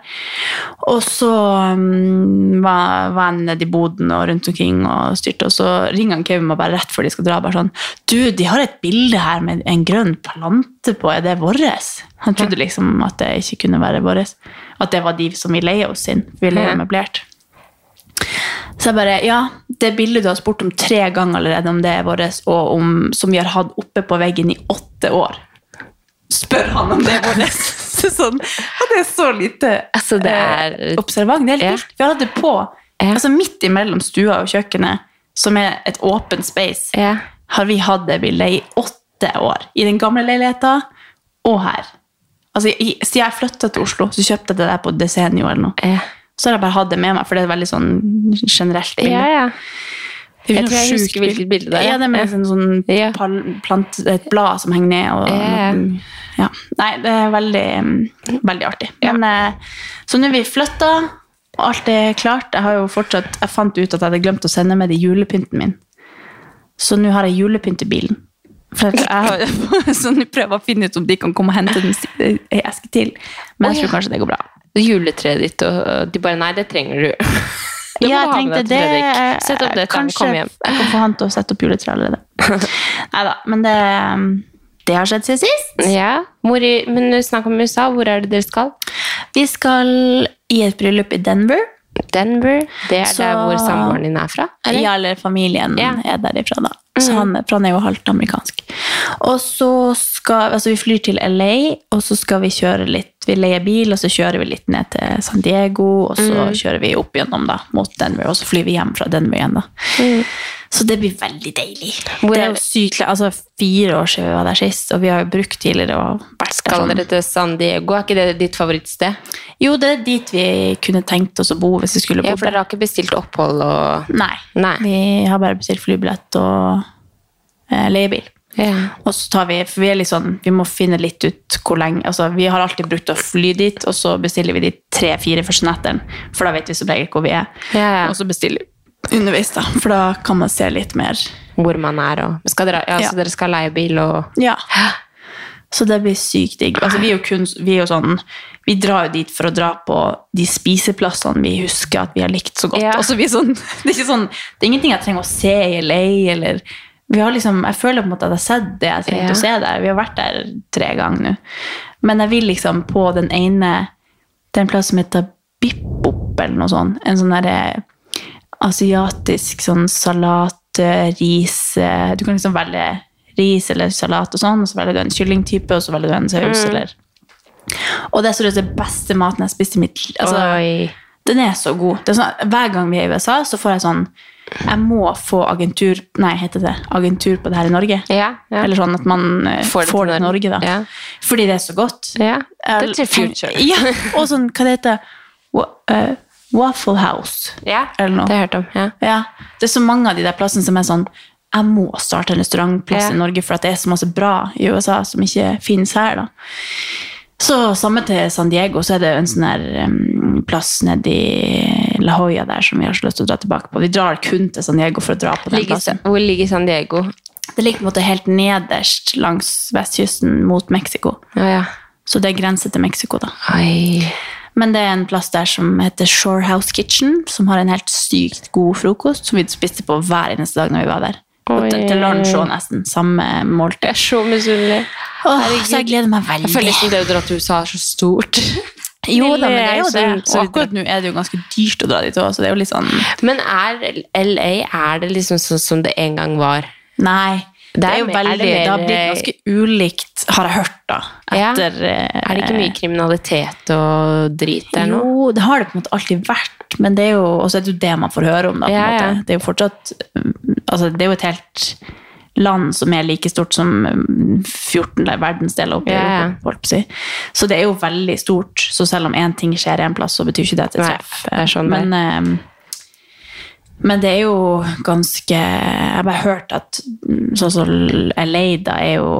Speaker 4: Og så mm, var, var jeg nede i boden og rundt omkring og styrte, og så ringer han Kevin meg bare rett før de skal dra. bare sånn, 'Du, de har et bilde her med en grønn plante på, er det våres?' Han trodde liksom at det ikke kunne være våres. At det var de som vi leier oss inn. Vi leier
Speaker 3: Ja.
Speaker 4: møblert. Så jeg bare, ja, det bildet du har spurt om tre ganger allerede, om det er vårt, og om, som vi har hatt oppe på veggen i åtte år. Spør han om det er vårt. Så sånn, og det er så lite
Speaker 3: Altså, det er-
Speaker 4: eh, observant. Det er helt
Speaker 3: Ja.
Speaker 4: vilt. Vi har hatt det på,
Speaker 3: Ja.
Speaker 4: altså midt imellom stua og kjøkkenet, som er et åpent space,
Speaker 3: Ja.
Speaker 4: har vi hatt det bildet i åtte år. I den gamle leiligheten, og her. Altså, i, siden jeg flyttet til Oslo, så kjøpte jeg det der på Desenio eller noe.
Speaker 3: Ja.
Speaker 4: Så har jeg bare hatt det med meg, for det er et veldig sånn generelt bilde.
Speaker 3: Ja, ja.
Speaker 4: Det er
Speaker 3: Jeg
Speaker 4: jo
Speaker 3: tror jeg
Speaker 4: sjukt
Speaker 3: husker hvilket bilde det er.
Speaker 4: Ja, det er med en sånn
Speaker 3: Ja.
Speaker 4: pal- plant, et blad som henger ned. Og,
Speaker 3: Ja.
Speaker 4: ja. Nei, det er veldig, mm, veldig artig. Men, eh, så nå er vi flytta, og alt er klart. Jeg, har jo fortsatt, jeg fant ut at jeg hadde glemt å sende med det julepynten min. Så nå har jeg julepynt i bilen. For jeg har, så nå prøver jeg å finne ut om de kan komme og hente den si- ei eske til. Men jeg
Speaker 3: Å,
Speaker 4: tror
Speaker 3: ja.
Speaker 4: kanskje det går bra.
Speaker 3: Juletreet ditt, og de bare Nei, det trenger du. Det må
Speaker 4: ja, jeg
Speaker 3: du ha med
Speaker 4: tenkte
Speaker 3: deg til
Speaker 4: det
Speaker 3: Fredrik. Sett opp det til han
Speaker 4: Kanskje
Speaker 3: kommer hjem.
Speaker 4: jeg kan få han til å sette opp juletre allerede. Nei da, men det, um, det har skjedd siden sist.
Speaker 3: Ja. Hvor i, men snakk om USA. Hvor er det dere skal?
Speaker 4: Vi skal i et bryllup i Denver.
Speaker 3: Denver. Det er
Speaker 4: Så-
Speaker 3: der hvor samboeren din er fra? eller?
Speaker 4: Ja, eller familien
Speaker 3: Ja. Mm.
Speaker 4: er derifra, da. Så han, for han er jo halvt amerikansk. Og så skal altså Vi flyr til LA, og så skal vi kjøre litt Vi leier bil, og så kjører vi litt ned til San Diego, og så
Speaker 3: Mm.
Speaker 4: kjører vi opp gjennom da, mot Denver, og så flyr vi hjem fra Denver igjen. da. Så det blir veldig deilig.
Speaker 3: Mm. Hvor
Speaker 4: det
Speaker 3: er
Speaker 4: er jo sykt, altså Fire år siden vi var der sist, og vi har jo brukt tidligere. og vært der
Speaker 3: Skal
Speaker 4: sånn.
Speaker 3: dere til San Diego? Er ikke det ditt favorittsted?
Speaker 4: Jo, det er dit vi kunne tenkt oss å bo hvis vi skulle bo
Speaker 3: Ja, for dere har ikke bestilt opphold og
Speaker 4: Nei.
Speaker 3: Nei.
Speaker 4: Vi har bare bestilt flybillett og eh, leiebil.
Speaker 3: Ja.
Speaker 4: Og så tar vi, for vi er litt sånn, vi må finne litt ut hvor lenge, altså vi har alltid brukt å fly dit, og så bestiller vi de tre-fire første netteren, for da vet vi som regel hvor vi er.
Speaker 3: Ja, ja.
Speaker 4: Og så bestiller vi underveis da, for da kan man se litt mer.
Speaker 3: hvor man er og skal dere, ja,
Speaker 4: Ja.
Speaker 3: Så dere skal leie bil og
Speaker 4: Ja. Så det blir sykt digg. Altså vi er jo kun, vi er jo sånn, vi drar jo dit for å dra på de spiseplassene vi husker at vi har likt så godt.
Speaker 3: Ja.
Speaker 4: Og så vi er sånn, det er ikke sånn, det er ingenting jeg trenger å se i LA, eller vi har liksom, jeg føler på en måte at jeg har sett det jeg trengte
Speaker 3: Ja.
Speaker 4: å se der. Vi har vært der tre ganger nå. Men jeg vil liksom på den ene, det er en plass som heter Bippop eller noe sånt. En sånn der eh, asiatisk sånn salat, eh, ris, eh, du kan liksom velge ris eller salat og sånn, og så velger du en kyllingtype, og så velger du en saus,
Speaker 3: Mm.
Speaker 4: eller... Og det er seriøst den beste maten jeg har spist i mitt liv. Altså,
Speaker 3: Oi.
Speaker 4: den er så god. Det er sånn, hver gang vi er i USA, så får jeg sånn Jeg må få agentur Nei, heter det agentur på det her i Norge?
Speaker 3: Ja, ja.
Speaker 4: Eller sånn at man eh, får det, til Norge, da.
Speaker 3: Ja.
Speaker 4: Fordi det er så godt.
Speaker 3: Ja, det er til
Speaker 4: Jeg-
Speaker 3: future.
Speaker 4: Ja, og sånn, hva det heter Wa- eh, Waffle House.
Speaker 3: Ja,
Speaker 4: Eller noe.
Speaker 3: det har jeg hørt om. Ja.
Speaker 4: Ja, det er så mange av de der plassene som er sånn jeg må starte en restaurantplass
Speaker 3: Ja.
Speaker 4: i Norge for at det er så masse bra i USA som ikke finnes her da. Så samme til San Diego så er det jo en sånn her um, plass nede i La Jolla der som vi har så lyst til å dra tilbake på. Vi drar kun til San Diego for å dra på den
Speaker 3: Ligger,
Speaker 4: plassen.
Speaker 3: hvor ligger San Diego?
Speaker 4: Det ligger på en måte helt nederst langs vestkysten mot Mexico.
Speaker 3: Ja, ja.
Speaker 4: Så det er grense til Mexico da.
Speaker 3: Oi.
Speaker 4: Men det er en plass der som heter Shorehouse Kitchen, som har en helt sykt god frokost, som vi spiste på hver eneste dag når vi var der. Og til, til lunsj og nesten samme
Speaker 3: Jeg
Speaker 4: måltid.
Speaker 3: er så misunnelig.
Speaker 4: Åh, så jeg gleder meg
Speaker 3: Jeg føler
Speaker 4: veldig.
Speaker 3: liksom det å dra til USA er så stort.
Speaker 4: Jo da, men det er jo det.
Speaker 3: Eller så- så
Speaker 4: Og akkurat nå er det jo ganske dyrt å dra dit også, så det er jo litt sånn...
Speaker 3: Men er LA er det liksom sånn som det en gang var?
Speaker 4: Nei, det er,
Speaker 3: er
Speaker 4: jo
Speaker 3: mer-
Speaker 4: veldig...
Speaker 3: er det
Speaker 4: det, har
Speaker 3: mer-
Speaker 4: blitt ganske ulikt, har jeg hørt da.
Speaker 3: Ja.
Speaker 4: Etter, eh,
Speaker 3: Er det ikke mye kriminalitet og drit der nå?
Speaker 4: Jo, det har det på en måte alltid vært, men det er jo, og så er det jo det man får høre om. Da, på en
Speaker 3: Ja, ja.
Speaker 4: måte. Det er jo fortsatt um, altså, Det er jo et helt land som er like stort som um, 14 le- verdensdeler oppi
Speaker 3: Ja, ja.
Speaker 4: Europa, holdt på å si. Så det er jo veldig stort. Så selv om én ting skjer i en plass, så betyr ikke det at det
Speaker 3: Nei,
Speaker 4: treffer.
Speaker 3: det er sånn det er.
Speaker 4: men, um, men det er jo ganske Jeg har bare hørt at mm, sånn som LA, da er jo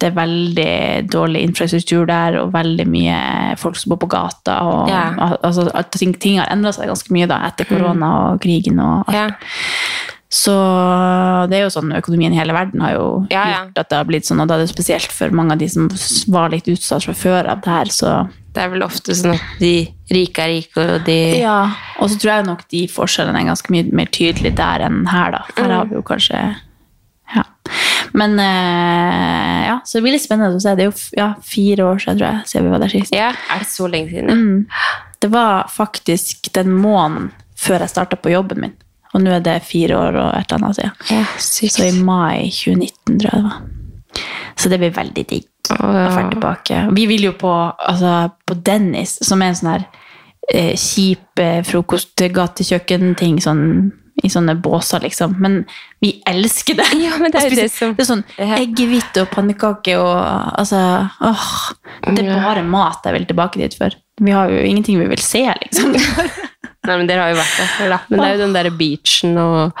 Speaker 4: det er veldig dårlig infrastruktur der, og veldig mye folk som bor på gata. Og,
Speaker 3: Ja. Mm.
Speaker 4: al- altså, at ting, ting har endra seg ganske mye da, etter korona og krigen og alt.
Speaker 3: Ja.
Speaker 4: Så det er jo sånn, økonomien i hele verden har jo
Speaker 3: Ja, ja.
Speaker 4: gjort at det har blitt sånn, og da er det spesielt for mange av de som s- var litt utsatt fra før av det her, så
Speaker 3: Det er vel ofte sånn at de rike er rike, og de
Speaker 4: ja. Og så tror jeg nok de forskjellene er ganske mye mer tydelige der enn her, da. Her har vi jo kanskje Ja. Men eh, ja, så det blir litt spennende å se. Det er jo f- ja, fire år siden, tror jeg, siden vi var der sist.
Speaker 3: Ja, er det så lenge siden?
Speaker 4: Det var faktisk den måneden før jeg starta på jobben min. Og nå er det fire år og et eller annet siden.
Speaker 3: Ja, sykt.
Speaker 4: Så i mai 2019, tror jeg det var. Så det blir veldig digg å
Speaker 3: ja.
Speaker 4: være tilbake. Vi vil jo på, altså, på Dennis, som er en sånn her eh, kjip eh, frokostgatekjøkken-ting, sånn, i sånne båser, liksom. Men vi elsker det!
Speaker 3: Ja, men det er
Speaker 4: Å
Speaker 3: jo
Speaker 4: spise-
Speaker 3: det som-
Speaker 4: Det er sånn
Speaker 3: Ja.
Speaker 4: eggehvite og pannekake og altså åh, Det er bare mat jeg vil tilbake dit for. Vi har jo ingenting vi vil se, liksom.
Speaker 3: Nei, men dere har jo vært der før, da. Men det er jo den derre beachen og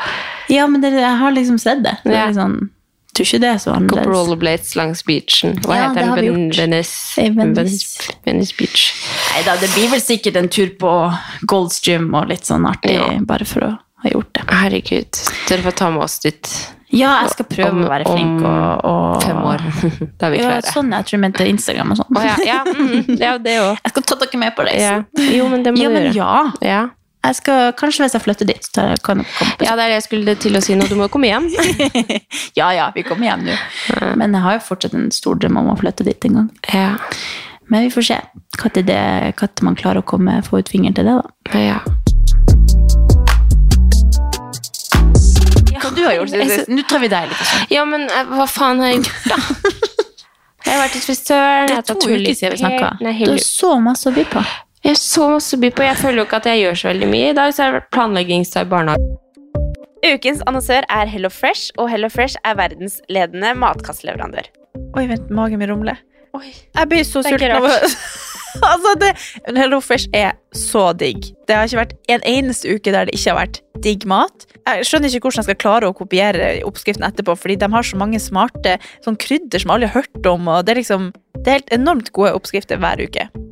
Speaker 4: Ja, men det, jeg har liksom sett det. det
Speaker 3: Ja.
Speaker 4: er litt sånn, tror ikke det er så
Speaker 3: Gå på
Speaker 4: annerledes.
Speaker 3: rollerblades langs beachen. Hva
Speaker 4: Ja, det
Speaker 3: heter
Speaker 4: har vi
Speaker 3: den?
Speaker 4: gjort.
Speaker 3: Venice.
Speaker 4: Eh, Venice.
Speaker 3: Venice. Venice Beach.
Speaker 4: Nei da, det blir vel sikkert en tur på Gold's Gym og litt sånn artig,
Speaker 3: Ja.
Speaker 4: bare for å ha gjort det.
Speaker 3: Herregud. Dere får ta med oss dit
Speaker 4: Ja, jeg skal prøve
Speaker 3: Om-
Speaker 4: å være flink
Speaker 3: om
Speaker 4: og, og
Speaker 3: fem år. Da er vi
Speaker 4: Ja,
Speaker 3: klare.
Speaker 4: sånn jeg tror jeg mente Instagram og sånn.
Speaker 3: Å ja, ja, mm, ja, det òg.
Speaker 4: Jeg skal ta dere med på
Speaker 3: Ja.
Speaker 4: reisen.
Speaker 3: Jo, men det må
Speaker 4: Ja,
Speaker 3: du
Speaker 4: men
Speaker 3: gjøre.
Speaker 4: ja.
Speaker 3: Ja.
Speaker 4: Jeg skal, kanskje hvis jeg flytter dit, så tar jeg- kan dere komme på
Speaker 3: ja, det er det jeg skulle til å si nå. Du må jo komme hjem.
Speaker 4: Ja, ja, vi kommer hjem nå. Men jeg har jo fortsatt en stor drøm om å flytte dit en gang.
Speaker 3: Ja.
Speaker 4: Men vi får se når det- når man klarer å komme, få ut fingeren til det, da.
Speaker 3: ja.
Speaker 4: Hva du har gjort siden sist? Nå tar vi deg litt. altså.
Speaker 3: Ja, men eh, hva faen har jeg gjort, da? Jeg har vært i frisøren.
Speaker 4: Det
Speaker 3: jeg har
Speaker 4: er to
Speaker 3: tatt
Speaker 4: uker siden vi
Speaker 3: hullipert,
Speaker 4: snakket.
Speaker 3: nei,
Speaker 4: Du
Speaker 3: hull-
Speaker 4: har så masse å by på.
Speaker 3: Jeg har så masse å by på. Jeg føler jo ikke at jeg gjør så veldig mye. I dag så har det vært planleggingsdag i barnehagen.
Speaker 5: Ukens annonsør er Hello Fresh, og Hello Fresh er verdensledende matkastleverandør.
Speaker 6: Oi, vent, magen min rumler.
Speaker 5: Oi.
Speaker 6: Jeg blir så
Speaker 5: Det er ikke
Speaker 6: sulten av å Altså, det men Hello Fresh er så digg. Det har ikke vært en eneste uke der det ikke har vært digg mat. Jeg skjønner ikke hvordan jeg skal klare å kopiere oppskriften etterpå, fordi de har så mange smarte sånn krydder som alle har hørt om, og det er liksom Det er helt enormt gode oppskrifter hver uke.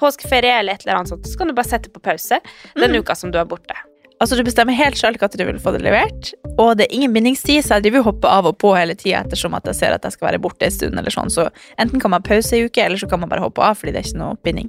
Speaker 5: påskeferie eller et eller annet sånt, så kan du bare sette på pause den uka som du er borte.
Speaker 6: Altså, du bestemmer helt selv hva du vil få det levert, og det er ingen bindingstid, så jeg driver og hopper av og på hele tida ettersom at jeg ser at jeg skal være borte en stund, eller sånn, så enten kan man pause i uke, eller så kan man bare hoppe av, fordi det er ikke noe binding.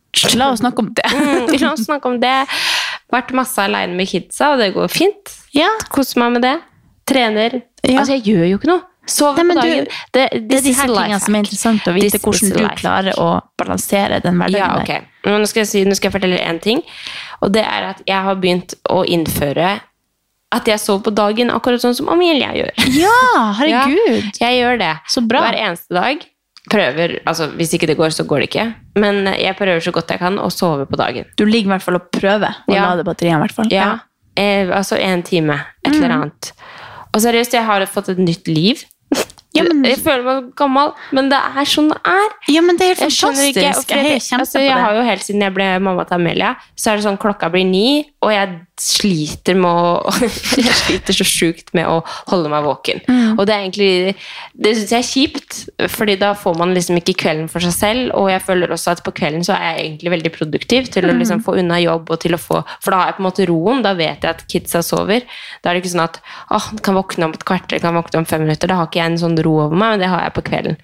Speaker 4: La oss snakke om det.
Speaker 3: Mm, la oss snakke om det. Vært masse aleine med kidsa, og det går fint.
Speaker 4: Ja.
Speaker 3: Koser meg med det. Trener.
Speaker 4: Ja.
Speaker 3: Altså, jeg gjør jo ikke noe.
Speaker 4: Nei,
Speaker 3: Sover på
Speaker 4: men du-
Speaker 3: dagen. det,
Speaker 4: Det er disse tingene som er interessant å vite
Speaker 3: This is
Speaker 4: hvordan du
Speaker 3: life.
Speaker 4: klarer å balansere den hverdagen
Speaker 3: Ja, ok. Men Nå skal jeg, si, nå skal jeg fortelle en ting. Og det er at jeg har begynt å innføre at jeg sover på dagen, akkurat sånn som Amelia gjør.
Speaker 4: der. Ja, herregud!
Speaker 3: Jeg gjør det.
Speaker 4: Så bra.
Speaker 3: Hver eneste dag. Prøver, altså Hvis ikke det går, så går det ikke. Men jeg prøver så godt jeg kan å sove på dagen.
Speaker 4: Du ligger i hvert fall og prøver å
Speaker 3: Ja.
Speaker 4: lade batteriene. i hvert fall.
Speaker 3: Ja, eh, altså en time, et eller
Speaker 4: Mm.
Speaker 3: annet. Og seriøst, jeg har fått et nytt liv.
Speaker 4: Ja, men-
Speaker 3: jeg føler meg gammel, men det er sånn det er.
Speaker 4: Ja, men det er helt
Speaker 3: Jeg skjønner
Speaker 4: fantastisk.
Speaker 3: ikke. og
Speaker 4: Jeg heier
Speaker 3: Fredrik,
Speaker 4: kjempe på
Speaker 3: altså, jeg
Speaker 4: det.
Speaker 3: har jo helt siden jeg ble mamma til Amelia, så er det sånn klokka blir ni, og jeg sliter med å Jeg sliter så sjukt med å holde meg våken.
Speaker 4: Mm.
Speaker 3: Og det er egentlig Det syns jeg er kjipt, fordi da får man liksom ikke kvelden for seg selv, og jeg føler også at på kvelden så er jeg egentlig veldig produktiv
Speaker 4: Mm.
Speaker 3: til å liksom få unna jobb og til å få For da har jeg på en måte roen, da vet jeg at kidsa sover. Da er det ikke sånn at åh, kan våkne om et kvarter, kan våkne om fem minutter. Da har ikke jeg en sånn ro over meg, men det har jeg på kvelden.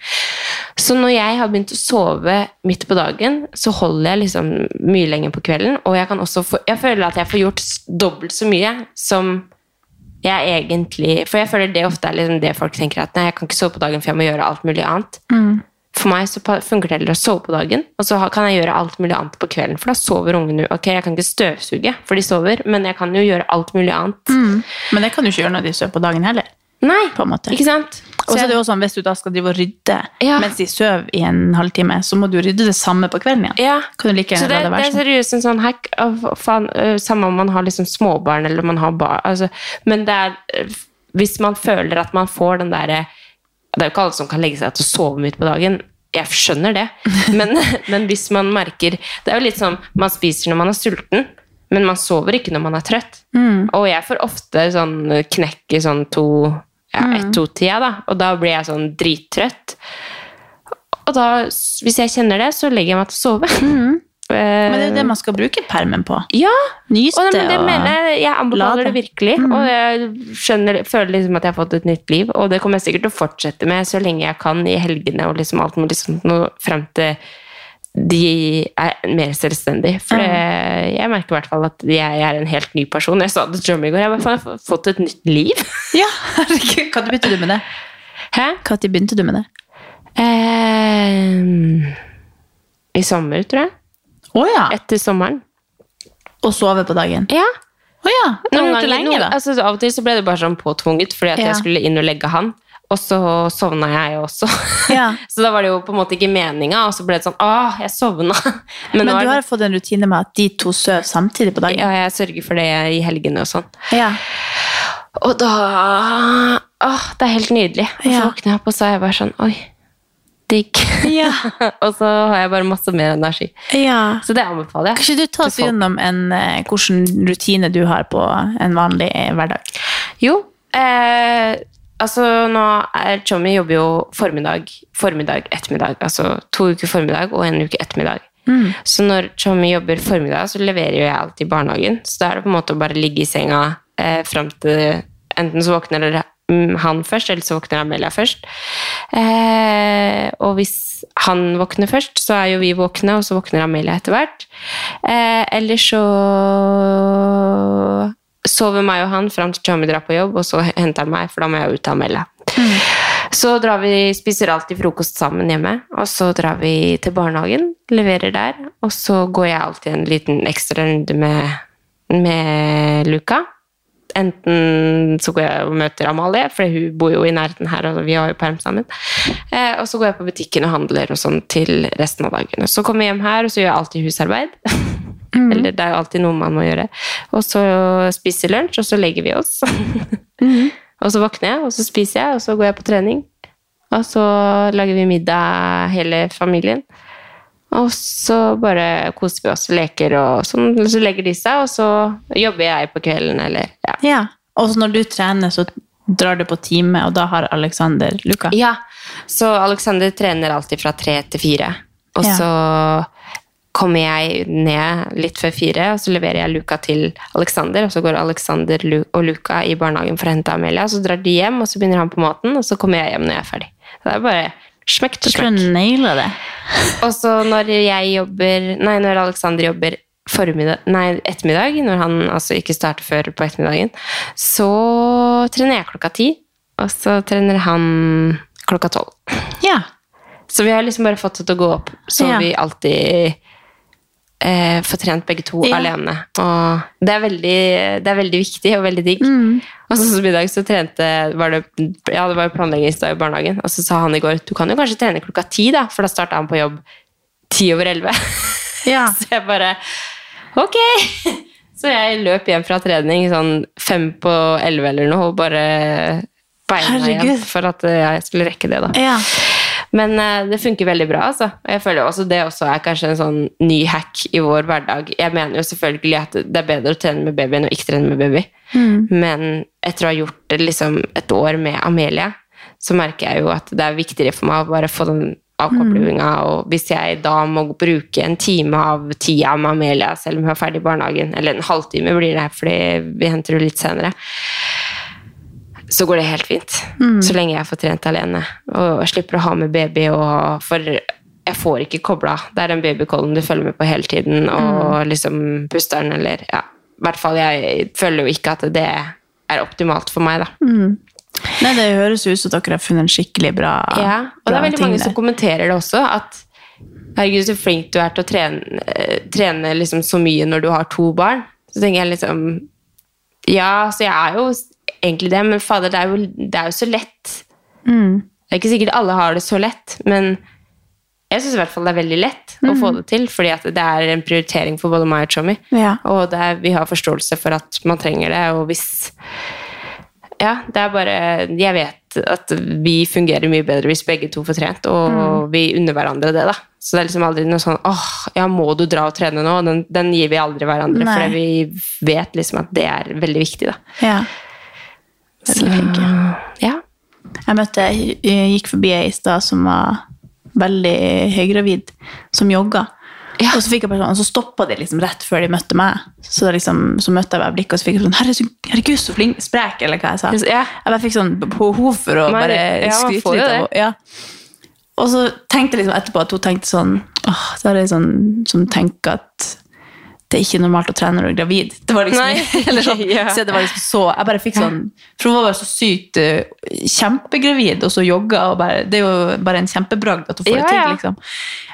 Speaker 3: Så når jeg har begynt å sove midt på dagen, så holder jeg liksom mye lenger på kvelden. Og jeg, kan også få, jeg føler at jeg får gjort s- dobbelt så mye som jeg egentlig For jeg føler det ofte er liksom det folk tenker at nei, jeg kan ikke sove på dagen, for jeg må gjøre alt mulig annet.
Speaker 4: Mm.
Speaker 3: For meg så pa- funker det heller å sove på dagen, og så ha- kan jeg gjøre alt mulig annet på kvelden. For da sover ungene Ok, jeg kan ikke støvsuge, for de sover, men jeg kan jo gjøre alt mulig annet.
Speaker 4: Men det kan du ikke gjøre når de sover på dagen heller.
Speaker 3: Nei,
Speaker 4: Mm. på en måte.
Speaker 3: ikke sant?
Speaker 4: Og så er det jo sånn, Hvis du da skal drive og rydde
Speaker 3: Ja.
Speaker 4: mens de sover i en halvtime, så må du rydde det samme på kvelden igjen.
Speaker 3: Ja.
Speaker 4: Kan du like
Speaker 3: Så
Speaker 4: gjerne
Speaker 3: det,
Speaker 4: la det
Speaker 3: det
Speaker 4: være
Speaker 3: er
Speaker 4: sånn?
Speaker 3: seriøst en sånn hack av faen, øh, Samme om man har liksom småbarn eller man har barn altså, Men det er øh, Hvis man føler at man får den derre Det er jo ikke alle som kan legge seg til å sove midt på dagen. Jeg skjønner det. Men, men hvis man merker Det er jo litt sånn man spiser når man er sulten. Men man sover ikke når man er trøtt.
Speaker 4: Mm.
Speaker 3: Og jeg får ofte sånn knekk i sånn to ja,
Speaker 4: Mm.
Speaker 3: ett-to-tida, da. Og da blir jeg sånn drittrøtt. Og da, s- hvis jeg kjenner det, så legger jeg meg til å sove. Eh,
Speaker 4: Men det er jo det man skal bruke permen på.
Speaker 3: ja, og
Speaker 4: Nyste
Speaker 3: det, men det
Speaker 4: og
Speaker 3: mener jeg. Jeg
Speaker 4: Lade.
Speaker 3: anbefaler det virkelig. Og jeg skjønner, føler liksom at jeg har fått et nytt liv, og det kommer jeg sikkert til å fortsette med så lenge jeg kan i helgene og liksom alt mulig sånt nå frem til de er mer selvstendige. For det, jeg merker i hvert fall at jeg er en helt ny person. Jeg sa det til Jommy i går. Jeg bare, faen, jeg har fått et nytt liv.
Speaker 4: Ja, herregud. Når begynte du med det?
Speaker 3: Hæ?
Speaker 4: Når begynte du med det?
Speaker 3: Eh, I sommer, tror jeg.
Speaker 4: Å ja!
Speaker 3: Etter sommeren.
Speaker 4: Å sove på dagen.
Speaker 3: Ja.
Speaker 4: Å ja. Har du
Speaker 3: Noen
Speaker 4: gjort det
Speaker 3: ganger,
Speaker 4: lenge,
Speaker 3: noen,
Speaker 4: da?
Speaker 3: altså, av og til så ble det bare sånn påtvunget, fordi at
Speaker 4: Ja.
Speaker 3: jeg skulle inn og legge han. Og så sovna jeg også. så da var det jo på en måte ikke meninga, og så ble det sånn Åh, jeg sovna.
Speaker 4: Men,
Speaker 3: nå er
Speaker 4: du
Speaker 3: det-
Speaker 4: har fått en rutine med at de to sover samtidig på dagen?
Speaker 3: Ja, jeg sørger for det i helgene og sånn.
Speaker 4: Ja.
Speaker 3: Og da Åh, det er helt nydelig. Og så våkner jeg opp, og så er jeg bare sånn Oi, digg. og så har jeg bare masse mer energi.
Speaker 4: Ja.
Speaker 3: Så det anbefaler jeg.
Speaker 4: Kan ikke du ta oss
Speaker 3: til folk.
Speaker 4: gjennom en, eh, hvilken rutine du har på en vanlig eh, hverdag?
Speaker 3: Jo. Eh, altså, nå er Tommy jobber jo formiddag, formiddag, ettermiddag. Altså to uker formiddag og en uke ettermiddag.
Speaker 4: Mm.
Speaker 3: Så når Tommy jobber formiddag, så leverer jo jeg alltid i barnehagen. Så da er det på en måte å bare ligge i senga eh, fram til Enten så våkner dere- mm, han først, eller så våkner Amelia først. Eh, og hvis han våkner først, så er jo vi våkne, og så våkner Amelia etter hvert. Eh, eller så sover meg og han fram til Tommy drar på jobb, og så henter han meg, for da må jeg ut av Amelia. Så drar vi, spiser alltid frokost sammen hjemme, og så drar vi til barnehagen, leverer der, og så går jeg alltid en liten ekstra runde med, med Luca. Enten så går jeg og møter Amalie, for hun bor jo i nærheten her, og vi har jo perm sammen. Eh, og så går jeg på butikken og handler og sånn til resten av dagen. Og så kommer jeg hjem her, og så gjør jeg alltid husarbeid. Eller det er jo alltid noe man må gjøre. Og så spiser lunsj, og så legger vi oss. Og så våkner jeg, og så spiser jeg, og så går jeg på trening. Og så lager vi middag, hele familien. Og så bare koser vi oss, leker og sånn. Så legger de seg, og så jobber jeg på kvelden, eller ja.
Speaker 4: Ja. Og så når du trener, så drar du på time, og da har Alexander Luka.
Speaker 3: Ja, så Alexander trener alltid fra tre til fire. Og
Speaker 4: Ja.
Speaker 3: så kommer jeg ned litt før fire, og så leverer jeg Luca til Alexander, og så går Alexander Lu- og Luca i barnehagen for å hente Amelia, så drar de hjem, og så begynner han på maten, og så kommer jeg hjem når jeg er ferdig. Så det er bare smekk til smekk.
Speaker 4: Naila det.
Speaker 3: Og så når jeg jobber Nei, når Alexander jobber formiddag, nei, ettermiddag, når han altså ikke starter før på ettermiddagen, så trener jeg klokka ti, og så trener han klokka tolv.
Speaker 4: Ja.
Speaker 3: Så vi har liksom bare fått det til å gå opp, så
Speaker 4: Ja.
Speaker 3: vi alltid eh, får trent begge to
Speaker 4: Ja.
Speaker 3: alene. Og det er, veldig, det er veldig viktig og veldig digg.
Speaker 4: Mm.
Speaker 3: Og så som i dag så trente var det, ja, det var jo planleggingsdag i barnehagen, og så sa han i går du kan jo kanskje trene klokka ti, da, for da starta han på jobb ti over elleve. så jeg bare Ok! Så jeg løp hjem fra trening sånn fem på elleve eller noe, og bare beina
Speaker 4: Herregud.
Speaker 3: igjen for at eh, jeg skulle rekke det, da. Men eh, det funker veldig bra, altså. Og jeg føler jo også det også er kanskje en sånn ny hack i vår hverdag. Jeg mener jo selvfølgelig at det er bedre å trene med baby enn å ikke trene med baby.
Speaker 4: Mm.
Speaker 3: Men etter å ha gjort det liksom et år med Amelia, så merker jeg jo at det er viktigere for meg å bare få den avkoblinga. Og hvis jeg da må bruke en time av tida med Amelia, selv om hun er ferdig i barnehagen, eller en halvtime blir det, fordi vi henter henne litt senere, så går det helt fint.
Speaker 4: Mm.
Speaker 3: Så lenge jeg får trent alene. Og jeg slipper å ha med baby. Og for jeg får ikke kobla. Det er den babykollen du følger med på hele tiden. Og liksom puster den, eller ja. I hvert fall jeg føler jo ikke at det er optimalt for meg, da.
Speaker 4: Mm. Nei, det høres ut som dere har funnet en skikkelig bra
Speaker 3: Ja, og det
Speaker 4: bra
Speaker 3: er veldig
Speaker 4: ting
Speaker 3: mange
Speaker 4: der.
Speaker 3: som kommenterer det også, at herregud, så flink du er til å trene, eh, trene liksom så mye når du har to barn. Så tenker jeg liksom, ja, så jeg er jo egentlig det, men fader, det er jo, det er jo så lett.
Speaker 4: Mm.
Speaker 3: Det er ikke sikkert alle har det så lett, men jeg syns i hvert fall det er veldig lett å
Speaker 4: Mm.
Speaker 3: få det til, fordi at det er en prioritering for både meg og Tommy.
Speaker 4: Ja.
Speaker 3: Og det er, vi har forståelse for at man trenger det, og hvis Ja, det er bare Jeg vet at vi fungerer mye bedre hvis begge to får trent, og
Speaker 4: Mm.
Speaker 3: vi unner hverandre det, da. Så det er liksom aldri noe sånn åh, ja, må du dra og trene nå? Den, den gir vi aldri hverandre,
Speaker 4: Nei.
Speaker 3: for vi vet liksom at det er veldig viktig, da.
Speaker 4: Ja. Veldig flink.
Speaker 3: Ja.
Speaker 4: Jeg møtte, jeg gikk forbi ei i stad som var veldig høygravid, som jogga. Og så, fikk jeg bare sånn, og så stoppa de liksom rett før de møtte meg. Så, da liksom, så møtte jeg bare blikket, og så fikk jeg sånn Herregud, herregud så flink, sprek, eller hva jeg sa.
Speaker 3: Ja.
Speaker 4: Jeg bare fikk sånn behov for å
Speaker 3: Nei,
Speaker 4: bare
Speaker 3: ja, man
Speaker 4: skryte
Speaker 3: får jo
Speaker 4: litt. Av,
Speaker 3: det.
Speaker 4: ja. Og så tenkte jeg liksom etterpå at hun tenkte sånn Åh, så er det sånn som tenker at det er ikke normalt å trene når du er gravid. Det var liksom,
Speaker 3: Nei.
Speaker 4: eller sånn,
Speaker 3: Ja.
Speaker 4: så det var liksom så, jeg bare fikk sånn, for hun var bare så sykt eh, kjempegravid, og så jogga, og bare, det er jo bare en kjempebragd at hun får
Speaker 3: Ja,
Speaker 4: det til,
Speaker 3: ja.
Speaker 4: liksom.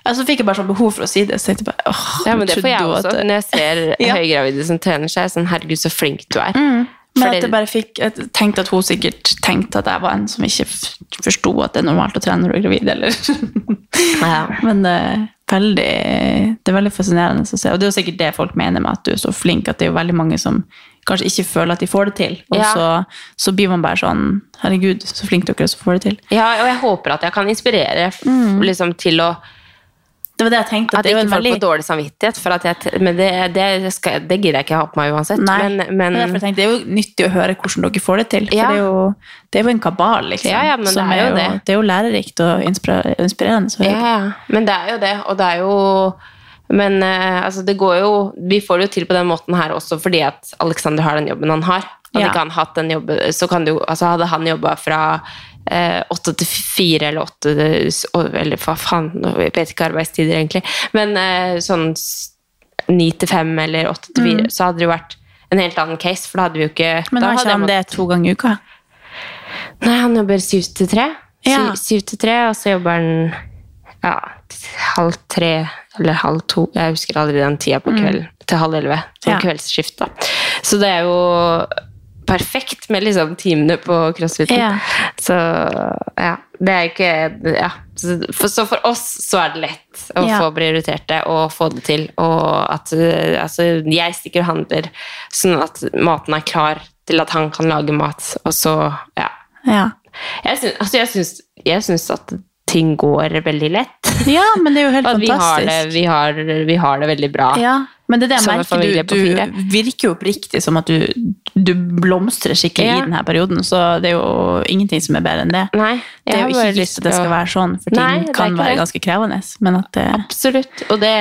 Speaker 4: Og så fikk jeg bare sånn behov for å si det, så tenkte jeg bare, åh,
Speaker 3: Ja, men det får
Speaker 4: trodde
Speaker 3: jeg
Speaker 4: hun at
Speaker 3: også.
Speaker 4: det-
Speaker 3: Når jeg ser
Speaker 4: Ja.
Speaker 3: høygravide som trener seg, sånn herregud, så flink du er.
Speaker 4: Mm. Men at
Speaker 3: Fordi-
Speaker 4: jeg bare fikk, jeg tenkte at hun sikkert tenkte at jeg var en som ikke f- forsto at det er normalt å trene når du er gravid, eller Men eh, veldig, det er veldig fascinerende å se. Og det er jo sikkert det folk mener med at du er så flink, at det er jo veldig mange som kanskje ikke føler at de får det til. Og
Speaker 3: Ja.
Speaker 4: så, så blir man bare sånn Herregud, så flink dere er som får det til.
Speaker 3: Ja, og jeg håper at jeg kan inspirere f- liksom, til å
Speaker 4: Det var det jeg tenkte. Mm.
Speaker 3: At
Speaker 4: det er jo
Speaker 3: ikke
Speaker 4: en
Speaker 3: folk
Speaker 4: veldig-
Speaker 3: får dårlig samvittighet. For at jeg, t- men det, det, skal, jeg- det gidder jeg ikke ha på meg uansett.
Speaker 4: Nei,
Speaker 3: Men, men,
Speaker 4: det er derfor jeg tenkte det er jo nyttig å høre hvordan dere får det til. For
Speaker 3: Ja.
Speaker 4: det, er jo, det er jo en kabal, liksom.
Speaker 3: Ja, ja, men det
Speaker 4: som
Speaker 3: er jo det.
Speaker 4: er jo lærerikt og inspira- inspirerende. Så
Speaker 3: ja, ja. men det er jo det. Og det er jo Men eh, altså, det går jo Vi får det jo til på den måten her også fordi at Alexander har den jobben han har. Hadde
Speaker 4: Ja.
Speaker 3: ikke han hatt den jobben, så kan du, altså, hadde han jobba fra eh, åtte til fire eller åtte Eller hva faen, nå vet jeg ikke arbeidstider, egentlig. Men eh, sånn s- ni til fem eller åtte til fire,
Speaker 4: Mm.
Speaker 3: så hadde det jo vært en helt annen case, for da hadde vi jo ikke
Speaker 4: Men
Speaker 3: da
Speaker 4: har
Speaker 3: hadde
Speaker 4: ikke
Speaker 3: jeg
Speaker 4: han det to ganger i uka?
Speaker 3: Nei, han jobber syv til tre.
Speaker 4: Ja.
Speaker 3: Syv, syv til tre, og så jobber han ja, til halv tre eller halv to. Jeg husker aldri den tida på
Speaker 4: Mm.
Speaker 3: kvelden. Til halv elleve. Sånn
Speaker 4: Ja.
Speaker 3: kveldsskift, da. Så det er jo perfekt med liksom timene på crossfiten.
Speaker 4: Ja.
Speaker 3: Så ja, det er ikke ja. Så for, så for oss så er det lett å
Speaker 4: Ja.
Speaker 3: få prioritert det og få det til. Og at eh, altså, jeg stikker og handler sånn at maten er klar til at han kan lage mat. Og så, ja.
Speaker 4: Ja.
Speaker 3: Jeg syns, altså, jeg syns, jeg syns at ting går veldig lett.
Speaker 4: ja, men det er jo helt
Speaker 3: At vi har,
Speaker 4: fantastisk.
Speaker 3: det, vi, har, vi har det veldig bra.
Speaker 4: ja. Men det er det jeg
Speaker 3: Som en familie
Speaker 4: merker,
Speaker 3: på
Speaker 4: du,
Speaker 3: fire.
Speaker 4: du virker jo oppriktig som at du, du blomstrer skikkelig
Speaker 3: Ja.
Speaker 4: i denne perioden, så det er jo ingenting som er bedre enn det.
Speaker 3: Nei,
Speaker 4: Det er jo
Speaker 3: jeg har
Speaker 4: ikke
Speaker 3: bare
Speaker 4: lyst til at det
Speaker 3: til
Speaker 4: skal
Speaker 3: å-
Speaker 4: være sånn, for
Speaker 3: Nei,
Speaker 4: ting
Speaker 3: det er
Speaker 4: kan
Speaker 3: ikke
Speaker 4: være
Speaker 3: det.
Speaker 4: ganske krevende. Men at eh, det,
Speaker 3: Absolutt. Og det,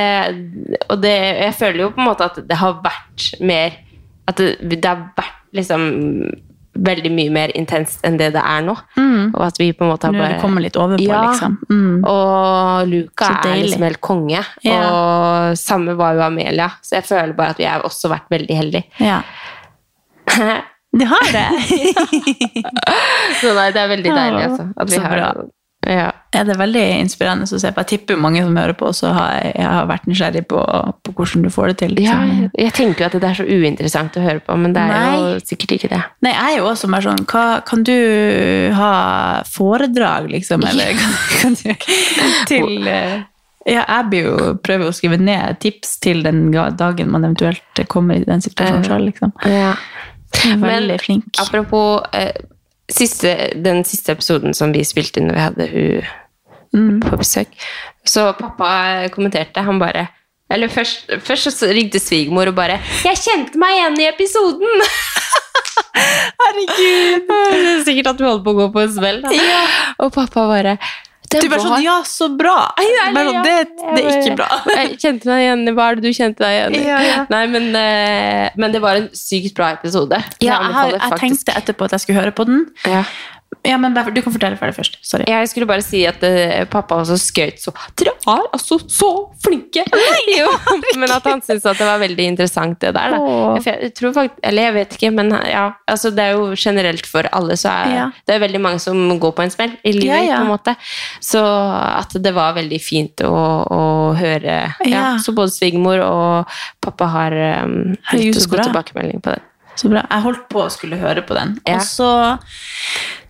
Speaker 3: og det Jeg føler jo på en måte at det har vært mer At det, det har vært liksom veldig mye mer intenst enn det det er nå.
Speaker 4: Mm.
Speaker 3: Og at vi på en måte har
Speaker 4: Nå er
Speaker 3: bare
Speaker 4: det kommet litt overpå,
Speaker 3: Ja.
Speaker 4: liksom.
Speaker 3: Og Luca
Speaker 4: Så
Speaker 3: er
Speaker 4: deilig.
Speaker 3: liksom helt konge.
Speaker 4: Ja.
Speaker 3: Og samme var jo Amelia. Så jeg føler bare at vi har også vært veldig heldige.
Speaker 4: Ja. Det har det!
Speaker 3: Så nei, det er veldig deilig, altså. At vi
Speaker 4: Så
Speaker 3: har
Speaker 4: bra. Ja, det er veldig inspirerende å se på. Jeg tipper jo mange som hører på, også har, jeg har vært nysgjerrig på, på hvordan du får det til.
Speaker 3: Ja,
Speaker 4: liksom.
Speaker 3: jeg- jeg tenker jo at det er så uinteressant å høre på, men det er jo
Speaker 4: Nei.
Speaker 3: sikkert ikke det.
Speaker 4: Nei, jeg er jo også mer sånn hva, Kan du ha foredrag, liksom? Eller kan, kan du Til eh, Ja, jeg blir jo, prøver jo å skrive ned tips til den ga- dagen man eventuelt kommer i den situasjonen sjøl, liksom. Jeg er Veldig flink.
Speaker 3: Apropos eh, siste, den siste episoden som vi spilte inn når vi hadde hun på besøk, så pappa kommenterte, han bare eller først, først så ringte svigermor og bare 'Jeg kjente meg igjen i episoden!' Herregud! Det er sikkert at du holder på å gå på en smell. da. Og pappa bare
Speaker 6: Du bare sånn, ja, så bra! Bare sånn, det, det er ikke bra.
Speaker 3: Jeg kjente meg igjen i Hva er det du kjente deg igjen i?
Speaker 6: Ja, ja.
Speaker 3: Nei, men, eh, men det var en sykt bra episode.
Speaker 4: Ja, jeg, har,
Speaker 3: anbefaler
Speaker 4: jeg
Speaker 3: faktisk.
Speaker 4: tenkte etterpå at jeg skulle høre på den.
Speaker 3: Ja.
Speaker 4: Ja, men bare- Du kan fortelle ferdig først. Sorry.
Speaker 3: Jeg skulle bare si at eh, pappa også skrøt så Dere er altså så flinke! jo, men at han syntes at det var veldig interessant, det der. Da.
Speaker 4: Åh.
Speaker 3: For Jeg tror faktisk, eller jeg vet ikke, men ja, altså det er jo generelt for alle, så er
Speaker 4: Ja.
Speaker 3: det er veldig mange som går på en smell i livet.
Speaker 4: Ja, ja.
Speaker 3: på en måte. Så at det var veldig fint å, å høre. Ja.
Speaker 4: Ja.
Speaker 3: Så både svigermor og pappa har um,
Speaker 4: Herregud,
Speaker 3: gitt oss
Speaker 4: så
Speaker 3: god
Speaker 4: bra.
Speaker 3: tilbakemelding på det.
Speaker 4: Så bra. Jeg holdt på å skulle høre på den.
Speaker 3: Ja.
Speaker 4: Og så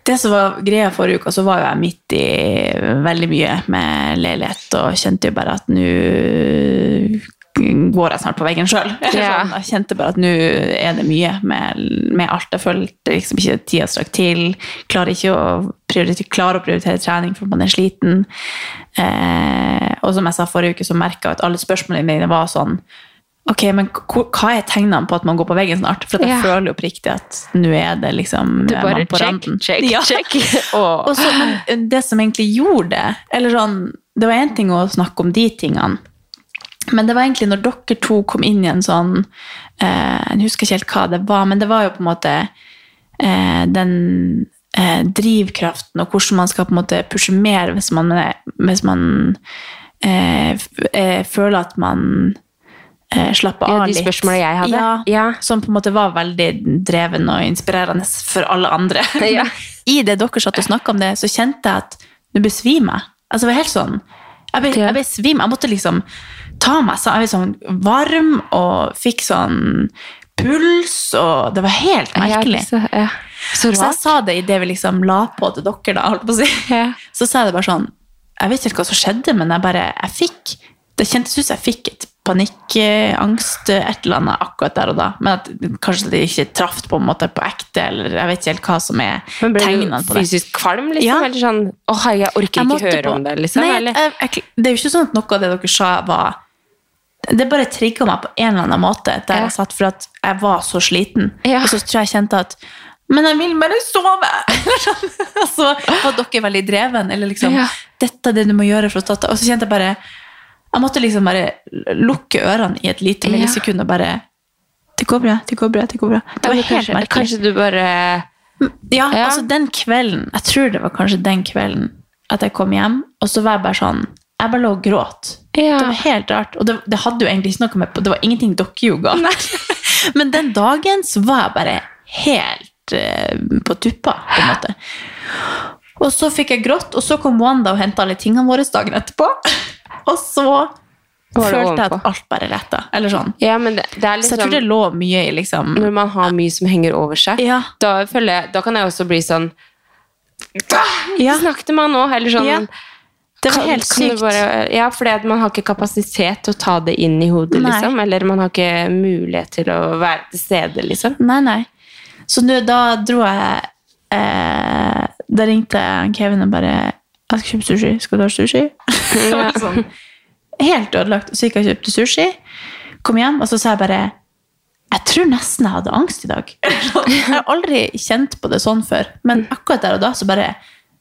Speaker 4: Det som var greia forrige uka, så var jo jeg midt i veldig mye med leilighet, og kjente jo bare at nå går jeg snart på veggen Sånn, sjøl.
Speaker 3: Ja.
Speaker 4: Jeg kjente bare at nå er det mye med, med alt. Jeg følte liksom ikke tida strakk til. Klarer ikke å prioritere, klarer å prioritere trening for man er sliten. Eh, og som jeg sa forrige uke, så merka jeg at alle spørsmålene mine var sånn Ok, men hvor- hva er tegnene på at man går på veggen snart? For at jeg
Speaker 3: Ja.
Speaker 4: føler jo oppriktig at nå er det liksom
Speaker 3: Du
Speaker 4: eh,
Speaker 3: bare
Speaker 4: man på
Speaker 3: check,
Speaker 4: randen.
Speaker 3: check,
Speaker 4: Ja.
Speaker 3: check. Åh.
Speaker 4: Og så, men det som egentlig gjorde det eller sånn, Det var én ting å snakke om de tingene, men det var egentlig når dere to kom inn i en sånn eh, Jeg husker ikke helt hva det var, men det var jo på en måte eh, den eh, drivkraften og hvordan man skal på en måte pushe mer hvis man, hvis man eh, f- eh, føler at man eh, slappe
Speaker 3: Ja,
Speaker 4: av
Speaker 3: de
Speaker 4: litt.
Speaker 3: spørsmålene jeg hadde.
Speaker 4: Ja, Som på en måte var veldig dreven og inspirerende for alle andre.
Speaker 3: Ja.
Speaker 4: Men I det dere satt og snakka om det, så kjente jeg at nå besvimer jeg. Altså, det var helt sånn. Jeg ble, jeg ble svim. Jeg måtte liksom ta meg så Jeg ble sånn varm og fikk sånn puls, og det var helt merkelig.
Speaker 3: Så, ja. så sånn,
Speaker 4: Så jeg
Speaker 3: rart.
Speaker 4: sa det idet vi liksom la på til dere, da, holdt på å si. Så sa jeg det bare sånn Jeg vet ikke hva som skjedde, men jeg bare Jeg fikk Det kjentes ut som jeg fikk et panikk, eh, angst, eh, et eller annet akkurat der og da. Men at kanskje det ikke traff på en måte på ekte, eller jeg vet ikke helt hva som er
Speaker 3: Men ble
Speaker 4: tegnene
Speaker 3: du
Speaker 4: på det.
Speaker 3: fysisk kvalm, liksom?
Speaker 4: Ja.
Speaker 3: Eller sånn Å, hei, jeg orker
Speaker 4: Jeg
Speaker 3: ikke
Speaker 4: måtte
Speaker 3: høre
Speaker 4: på-
Speaker 3: om det, liksom?
Speaker 4: Nei,
Speaker 3: eller?
Speaker 4: jeg, jeg, det er jo ikke sånn at noe av det dere sa, var Det bare trigga meg på en eller annen måte der jeg satt, for at jeg var så sliten. Og så tror jeg jeg kjente at Men jeg vil bare sove! Eller sånn. Og så var dere veldig dreven. Eller liksom Dette er det du må gjøre for å ta ta Og så kjente jeg bare Jeg måtte liksom bare lukke ørene i et lite
Speaker 3: Ja.
Speaker 4: millisekund og bare Det går bra, det går bra, det går bra.
Speaker 3: Ja,
Speaker 4: Det var
Speaker 3: men
Speaker 4: helt
Speaker 3: kanskje,
Speaker 4: merkelig.
Speaker 3: kanskje du bare
Speaker 4: Ja, altså den kvelden Jeg tror det var kanskje den kvelden at jeg kom hjem, og så var jeg bare sånn Jeg bare lå og gråt. Det var helt rart. Og det, det hadde jo egentlig ikke noe med Det var ingenting dere gjorde galt. Men den dagen så var jeg bare helt eh, på tuppa, på en måte. Og så fikk jeg grått, og så kom Wanda og henta alle tingene våre dagen etterpå. Og så
Speaker 3: Var det
Speaker 4: følte jeg
Speaker 3: ovenpå?
Speaker 4: at alt bare letta. Eller sånn.
Speaker 3: Ja, men det, det er
Speaker 4: Så
Speaker 3: liksom
Speaker 4: jeg tror det lå mye i liksom
Speaker 3: Når man har mye som henger over seg,
Speaker 4: Ja.
Speaker 3: da, føler jeg, da kan jeg også bli sånn
Speaker 4: Ja.
Speaker 3: Snakk til meg nå! Eller sånn
Speaker 4: Ja. Det var
Speaker 3: kan-
Speaker 4: helt
Speaker 3: kan du
Speaker 4: sykt.
Speaker 3: Bare, ja, fordi at man har ikke kapasitet til å ta det inn i hodet,
Speaker 4: Nei.
Speaker 3: liksom. Eller man har ikke mulighet til å være til stede, liksom.
Speaker 4: Nei, nei. Så nå, da dro jeg eh, Da ringte jeg han Kevin og bare Jeg skal kjøpe sushi. Skal du ha sushi? Så var det sånn, Helt ødelagt. Så gikk jeg og kjøpte sushi, kom hjem, og så sa jeg bare Jeg tror nesten jeg hadde angst i dag. Jeg har aldri kjent på det sånn før, men akkurat der og da så bare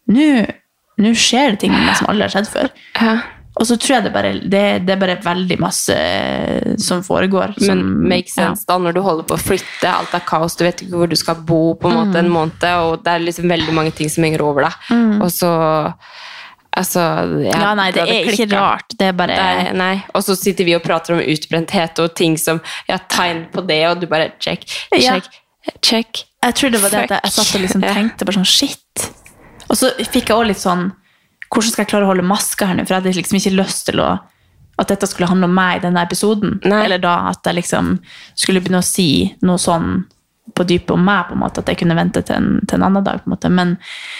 Speaker 4: Nå nå skjer det ting med meg som aldri har skjedd før. Og så tror jeg det bare Det, det er bare veldig masse eh, som foregår. Som,
Speaker 3: Men make sense da, når du holder på å flytte, alt er kaos, du vet ikke hvor du skal bo på en måte en måned, og det er liksom veldig mange ting som henger over deg.
Speaker 4: Mm.
Speaker 3: Og så Altså jeg-
Speaker 4: Ja, nei, det
Speaker 3: da
Speaker 4: er ikke
Speaker 3: klikker.
Speaker 4: rart. Det er bare
Speaker 3: Det er- nei. Og så sitter vi og prater om utbrenthet og ting som Ja, tegn på det, og du bare check, check,
Speaker 4: Ja.
Speaker 3: check.
Speaker 4: Jeg tror det var det at jeg, jeg satt og liksom tenkte bare sånn shit. Og så fikk jeg også litt sånn Hvordan skal jeg klare å holde maska her nå? For jeg hadde liksom ikke lyst til å at dette skulle handle om meg i denne episoden. Eller da at jeg liksom skulle begynne å si noe sånn på dypet om meg, på en måte, at jeg kunne vente til en, til en annen dag. på en måte. Men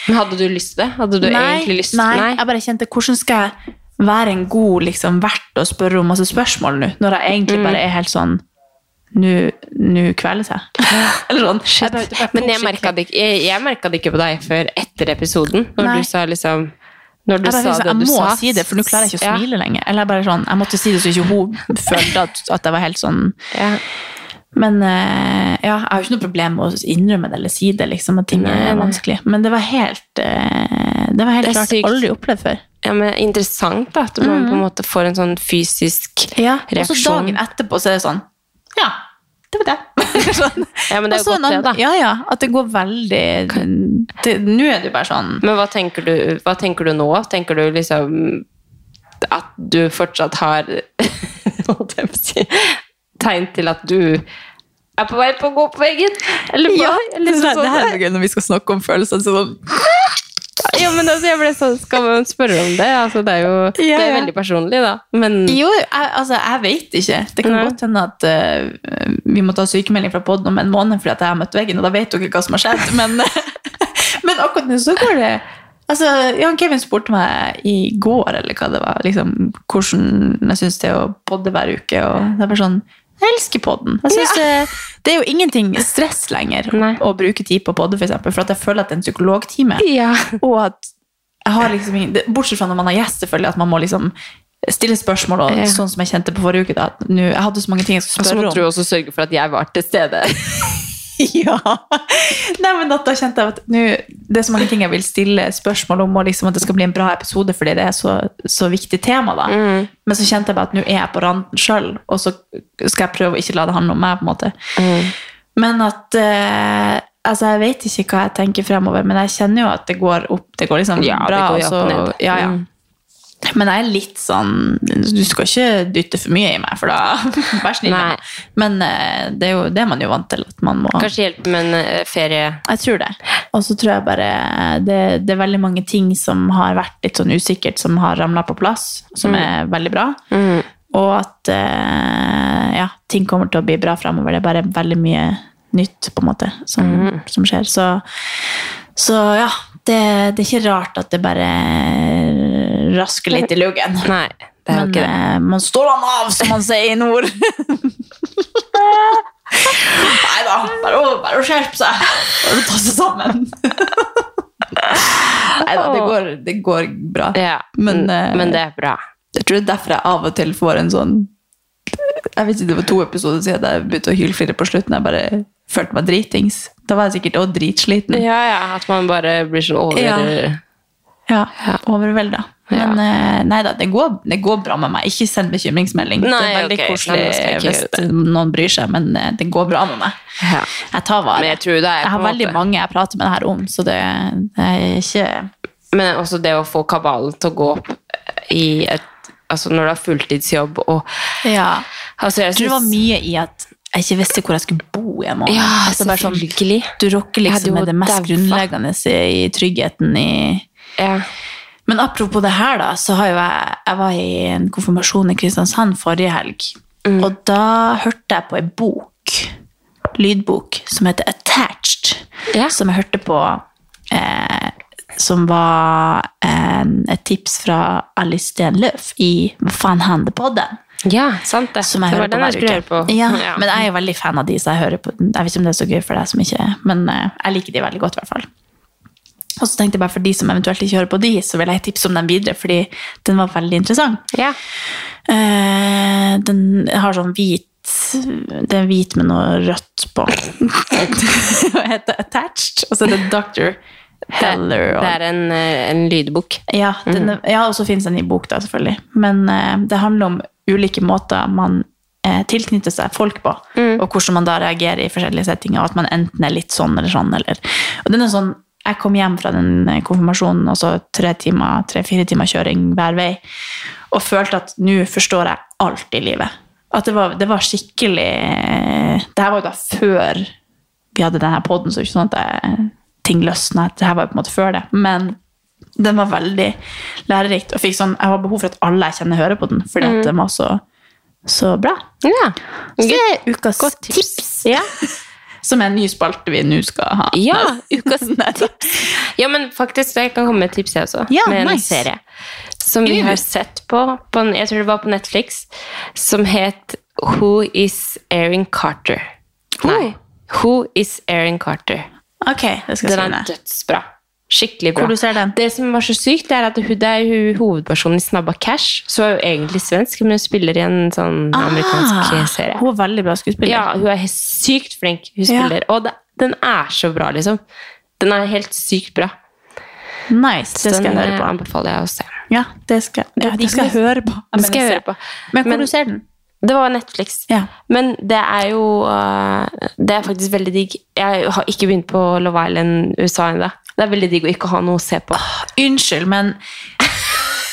Speaker 3: Men hadde du lyst til det? Hadde du egentlig lyst
Speaker 4: nei, jeg bare kjente hvordan skal jeg være en god liksom, vert og spørre om masse spørsmål nå, når jeg egentlig
Speaker 3: Mm.
Speaker 4: bare er helt sånn Nå nå kveles jeg. Eller sånn. Jeg bare- bare
Speaker 3: Men jeg
Speaker 4: tok
Speaker 3: merka det, ikke- jeg, jeg merket det ikke på deg før etter episoden, når
Speaker 4: Nei.
Speaker 3: du sa liksom Når
Speaker 4: jeg
Speaker 3: du
Speaker 4: bare,
Speaker 3: sa
Speaker 4: tenkte sånn,
Speaker 3: det du
Speaker 4: jeg må
Speaker 3: sa.
Speaker 4: si det, for nå klarer jeg ikke å
Speaker 3: Ja.
Speaker 4: smile lenger. Eller jeg bare sånn, jeg måtte si det så ikke hun følte at, at jeg var helt sånn Men eh, ja, jeg har jo ikke noe problem med å innrømme det eller si det, liksom, at ting
Speaker 3: Nei,
Speaker 4: er
Speaker 3: nei.
Speaker 4: vanskelig. Men det var helt eh, Det var helt
Speaker 3: Det er
Speaker 4: klart
Speaker 3: sykt.
Speaker 4: aldri opplevd før.
Speaker 3: Ja, men Interessant da, at man på en måte får en sånn fysisk
Speaker 4: Og så
Speaker 3: reaksjon.
Speaker 4: dagen etterpå så er det sånn Ja, det var det. Sånn.
Speaker 3: Ja, men det er
Speaker 4: Og så
Speaker 3: jo
Speaker 4: en
Speaker 3: godt, det,
Speaker 4: annen-
Speaker 3: da.
Speaker 4: Ja, ja. At det går veldig det- Nå er det jo bare sånn
Speaker 3: Men hva tenker, du, hva tenker du nå? Tenker du liksom at du fortsatt har holdt jeg på å si, tegn til at du er på vei på å gå på veggen? Eller på,
Speaker 4: Ja,
Speaker 3: eller
Speaker 4: det,
Speaker 3: sånn,
Speaker 4: det her er noe gøy når vi skal snakke om følelser. så Sånn.
Speaker 3: Ja, men altså, jeg ble sånn, Skal man spørre om det? Altså, det er jo
Speaker 4: Ja,
Speaker 3: det er
Speaker 4: ja.
Speaker 3: veldig personlig, da. Men
Speaker 4: Jo, jeg, altså, jeg vet ikke. Det kan
Speaker 3: Mm. Nei.
Speaker 4: godt hende at eh, vi må ta sykemelding fra poden om en måned fordi at jeg har møtt veggen, og da vet dere hva som har skjedd. Men, men akkurat nå så går det Altså, Jan Kevin spurte meg i går eller hva det var, liksom, hvordan jeg syns det er å podde hver uke. Og det er bare sånn Jeg elsker podden. Jeg synes
Speaker 3: eh,
Speaker 4: det, det er jo ingenting stress lenger å bruke tid på å podde, for, eksempel, for at jeg føler at det er en psykologtime. Og at jeg har liksom ingen, det- Bortsett fra når man har gjest, selvfølgelig, at man må liksom stille spørsmål. Og,
Speaker 3: Ja.
Speaker 4: Sånn som jeg kjente på forrige uke. Da, at nå, jeg hadde så mange ting jeg
Speaker 3: Og
Speaker 4: skulle
Speaker 3: så
Speaker 4: spørre
Speaker 3: måtte
Speaker 4: om.
Speaker 3: du også sørge for at jeg var til stede.
Speaker 4: ja. Nei, men at da kjente jeg at nå, det er så mange ting jeg vil stille spørsmål om, og liksom at det skal bli en bra episode fordi det er så, så viktig tema. da. Men så kjente jeg bare at nå er jeg på randen sjøl, og så skal jeg prøve å ikke la det handle om meg. på en måte. Men at eh, Altså, jeg vet ikke hva jeg tenker fremover, men jeg kjenner jo at det går opp. Det går liksom
Speaker 3: Ja, det
Speaker 4: bra.
Speaker 3: går
Speaker 4: og
Speaker 3: jo
Speaker 4: så-
Speaker 3: opp og ned.
Speaker 4: Ja, ja.
Speaker 3: Mm.
Speaker 4: Men jeg er litt sånn Du skal ikke dytte for mye i meg, for da Vær snill.
Speaker 3: Nei.
Speaker 4: Men eh, det er jo det er man jo vant til. At man må
Speaker 3: Kanskje hjelpe med en eh, ferie.
Speaker 4: Jeg tror det. Og så tror jeg bare det, det er veldig mange ting som har vært litt sånn usikkert, som har ramla på plass, som
Speaker 3: Mm.
Speaker 4: er veldig bra. Og at eh, ja, ting kommer til å bli bra framover. Det er bare veldig mye nytt på en måte som,
Speaker 3: Mm.
Speaker 4: som skjer. Så, så ja, det, det er ikke rart at det bare rasker litt i luggen.
Speaker 3: Nei, det er jo
Speaker 4: Men
Speaker 3: ikke det.
Speaker 4: eh, man står han av, som man sier i nord. Nei da, bare å- bare å skjerpe seg. Bare å ta seg sammen. Nei da, det går, det går bra.
Speaker 3: Ja, Mm,
Speaker 4: Men, eh,
Speaker 3: men det er bra.
Speaker 4: Jeg tror det er derfor jeg av og til får en sånn Jeg vet ikke, det var to episoder siden jeg begynte å hylflire på slutten. Jeg bare følte meg dritings. Da var jeg sikkert også dritsliten.
Speaker 3: Ja, ja, at man bare blir sånn over...
Speaker 4: Ja. Ja, overvelda.
Speaker 3: Ja.
Speaker 4: Men eh, nei da, det går, det går bra med meg. Ikke send bekymringsmelding. det er
Speaker 3: Nei,
Speaker 4: veldig
Speaker 3: ok,
Speaker 4: koselig
Speaker 3: nei, da skal jeg ikke
Speaker 4: hvis noen bryr seg, men eh, det går bra med meg.
Speaker 3: Ja.
Speaker 4: Jeg tar vare.
Speaker 3: Men jeg tror det er
Speaker 4: har
Speaker 3: på en
Speaker 4: veldig
Speaker 3: måte-
Speaker 4: mange jeg prater med det her om, så det, det er ikke
Speaker 3: Men også det å få kabalen til å gå opp eh, i et Altså når du har fulltidsjobb og
Speaker 4: ja.
Speaker 3: altså jeg
Speaker 4: Jeg tror det var
Speaker 3: synes-
Speaker 4: mye i at jeg ikke visste hvor jeg skulle bo i en måned.
Speaker 3: Ja,
Speaker 4: altså, bare sånn,
Speaker 3: selvfølgelig.
Speaker 4: du rocker
Speaker 3: Jeg hadde jo
Speaker 4: liksom med det mest
Speaker 3: daua.
Speaker 4: grunnleggende i, i tryggheten i
Speaker 3: Ja.
Speaker 4: Men apropos det her, da, så har jo jeg, jeg var i en konfirmasjon i Kristiansand forrige helg. Og da hørte jeg på ei bok, lydbok, som heter Attached.
Speaker 3: Ja.
Speaker 4: Som jeg hørte på eh, Som var en, et tips fra Alice Stenløf i Hva faen hender på den?
Speaker 3: ja, sant det.
Speaker 4: Som jeg
Speaker 3: det
Speaker 4: hører
Speaker 3: var
Speaker 4: på
Speaker 3: den jeg
Speaker 4: hver uke.
Speaker 3: skulle høre på.
Speaker 4: Ja, Men jeg er jo veldig fan av de, så jeg hører på den. Jeg vet ikke om det er så gøy for deg som ikke Men eh, jeg liker de veldig godt, i hvert fall. Og så tenkte jeg bare for de som eventuelt ikke hører på de, så vil jeg tipse om dem videre, fordi den var veldig interessant.
Speaker 3: ja.
Speaker 4: Eh, den har sånn hvit Det er hvit med noe rødt på. Hva heter Attached. Og så er det Dr. Heller.
Speaker 3: Det
Speaker 4: Og,
Speaker 3: er en, eh, en lydbok.
Speaker 4: ja, den, er- ja, og så finnes den i bok, da, selvfølgelig. Men eh, det handler om ulike måter man eh, tilknytter seg folk på, og hvordan man da reagerer i forskjellige settinger, og at man enten er litt sånn eller sånn. Eller. Og den er sånn, jeg kom hjem fra den eh, konfirmasjonen, og så tre-fire timer, tre, fire timer kjøring hver vei, og følte at nå forstår jeg alt i livet. At det var, det var skikkelig eh, Det her var jo da før vi hadde denne poden, så det er ikke sånn at jeg, ting løsna. Det her var jo på en måte før det. Men den var veldig lærerikt. Og fikk sånn, jeg har behov for at alle jeg kjenner, hører på den, fordi
Speaker 3: Mm.
Speaker 4: at den var så, så bra.
Speaker 3: Ja.
Speaker 4: Så det er ukas
Speaker 3: Godt
Speaker 4: tips.
Speaker 3: Ja.
Speaker 4: Som er en ny spalte vi nå skal ha.
Speaker 3: ja, ukas tips. Ja, men faktisk, jeg kan komme med et tips, jeg også.
Speaker 4: Ja,
Speaker 3: med en
Speaker 4: nice.
Speaker 3: serie som vi
Speaker 4: Gud.
Speaker 3: har sett på, på en, jeg tror det var på Netflix, som het Who is Erin Carter? Nei. Who is Erin Carter?
Speaker 4: Ok, det skal jeg
Speaker 3: Den
Speaker 4: skrive
Speaker 3: er
Speaker 4: ned.
Speaker 3: dødsbra. Skikkelig bra.
Speaker 4: Hvor du ser den?
Speaker 3: Det som var så sykt, det er at hun, det er hun hovedpersonen i Snabba Cash, som er jo egentlig svensk, men hun spiller i en sånn amerikansk
Speaker 4: Ah,
Speaker 3: serie.
Speaker 4: Hun er veldig bra skuespiller.
Speaker 3: Ja, hun er sykt flink. Hun
Speaker 4: Ja.
Speaker 3: spiller. Og det, den er så bra, liksom. Den er helt sykt bra.
Speaker 4: Nice, det skal jeg
Speaker 3: den
Speaker 4: høre
Speaker 3: eh,
Speaker 4: på.
Speaker 3: anbefaler jeg å se.
Speaker 4: Ja, det skal, ja, det skal jeg høre på.
Speaker 3: Den skal jeg høre på.
Speaker 4: Men hvor
Speaker 3: Men-
Speaker 4: du ser den?
Speaker 3: Det var Netflix.
Speaker 4: Ja.
Speaker 3: Men det er jo eh, Det er faktisk veldig digg. Jeg har ikke begynt på Love Island USA ennå. Det er veldig digg å ikke ha noe å se på.
Speaker 4: Unnskyld, men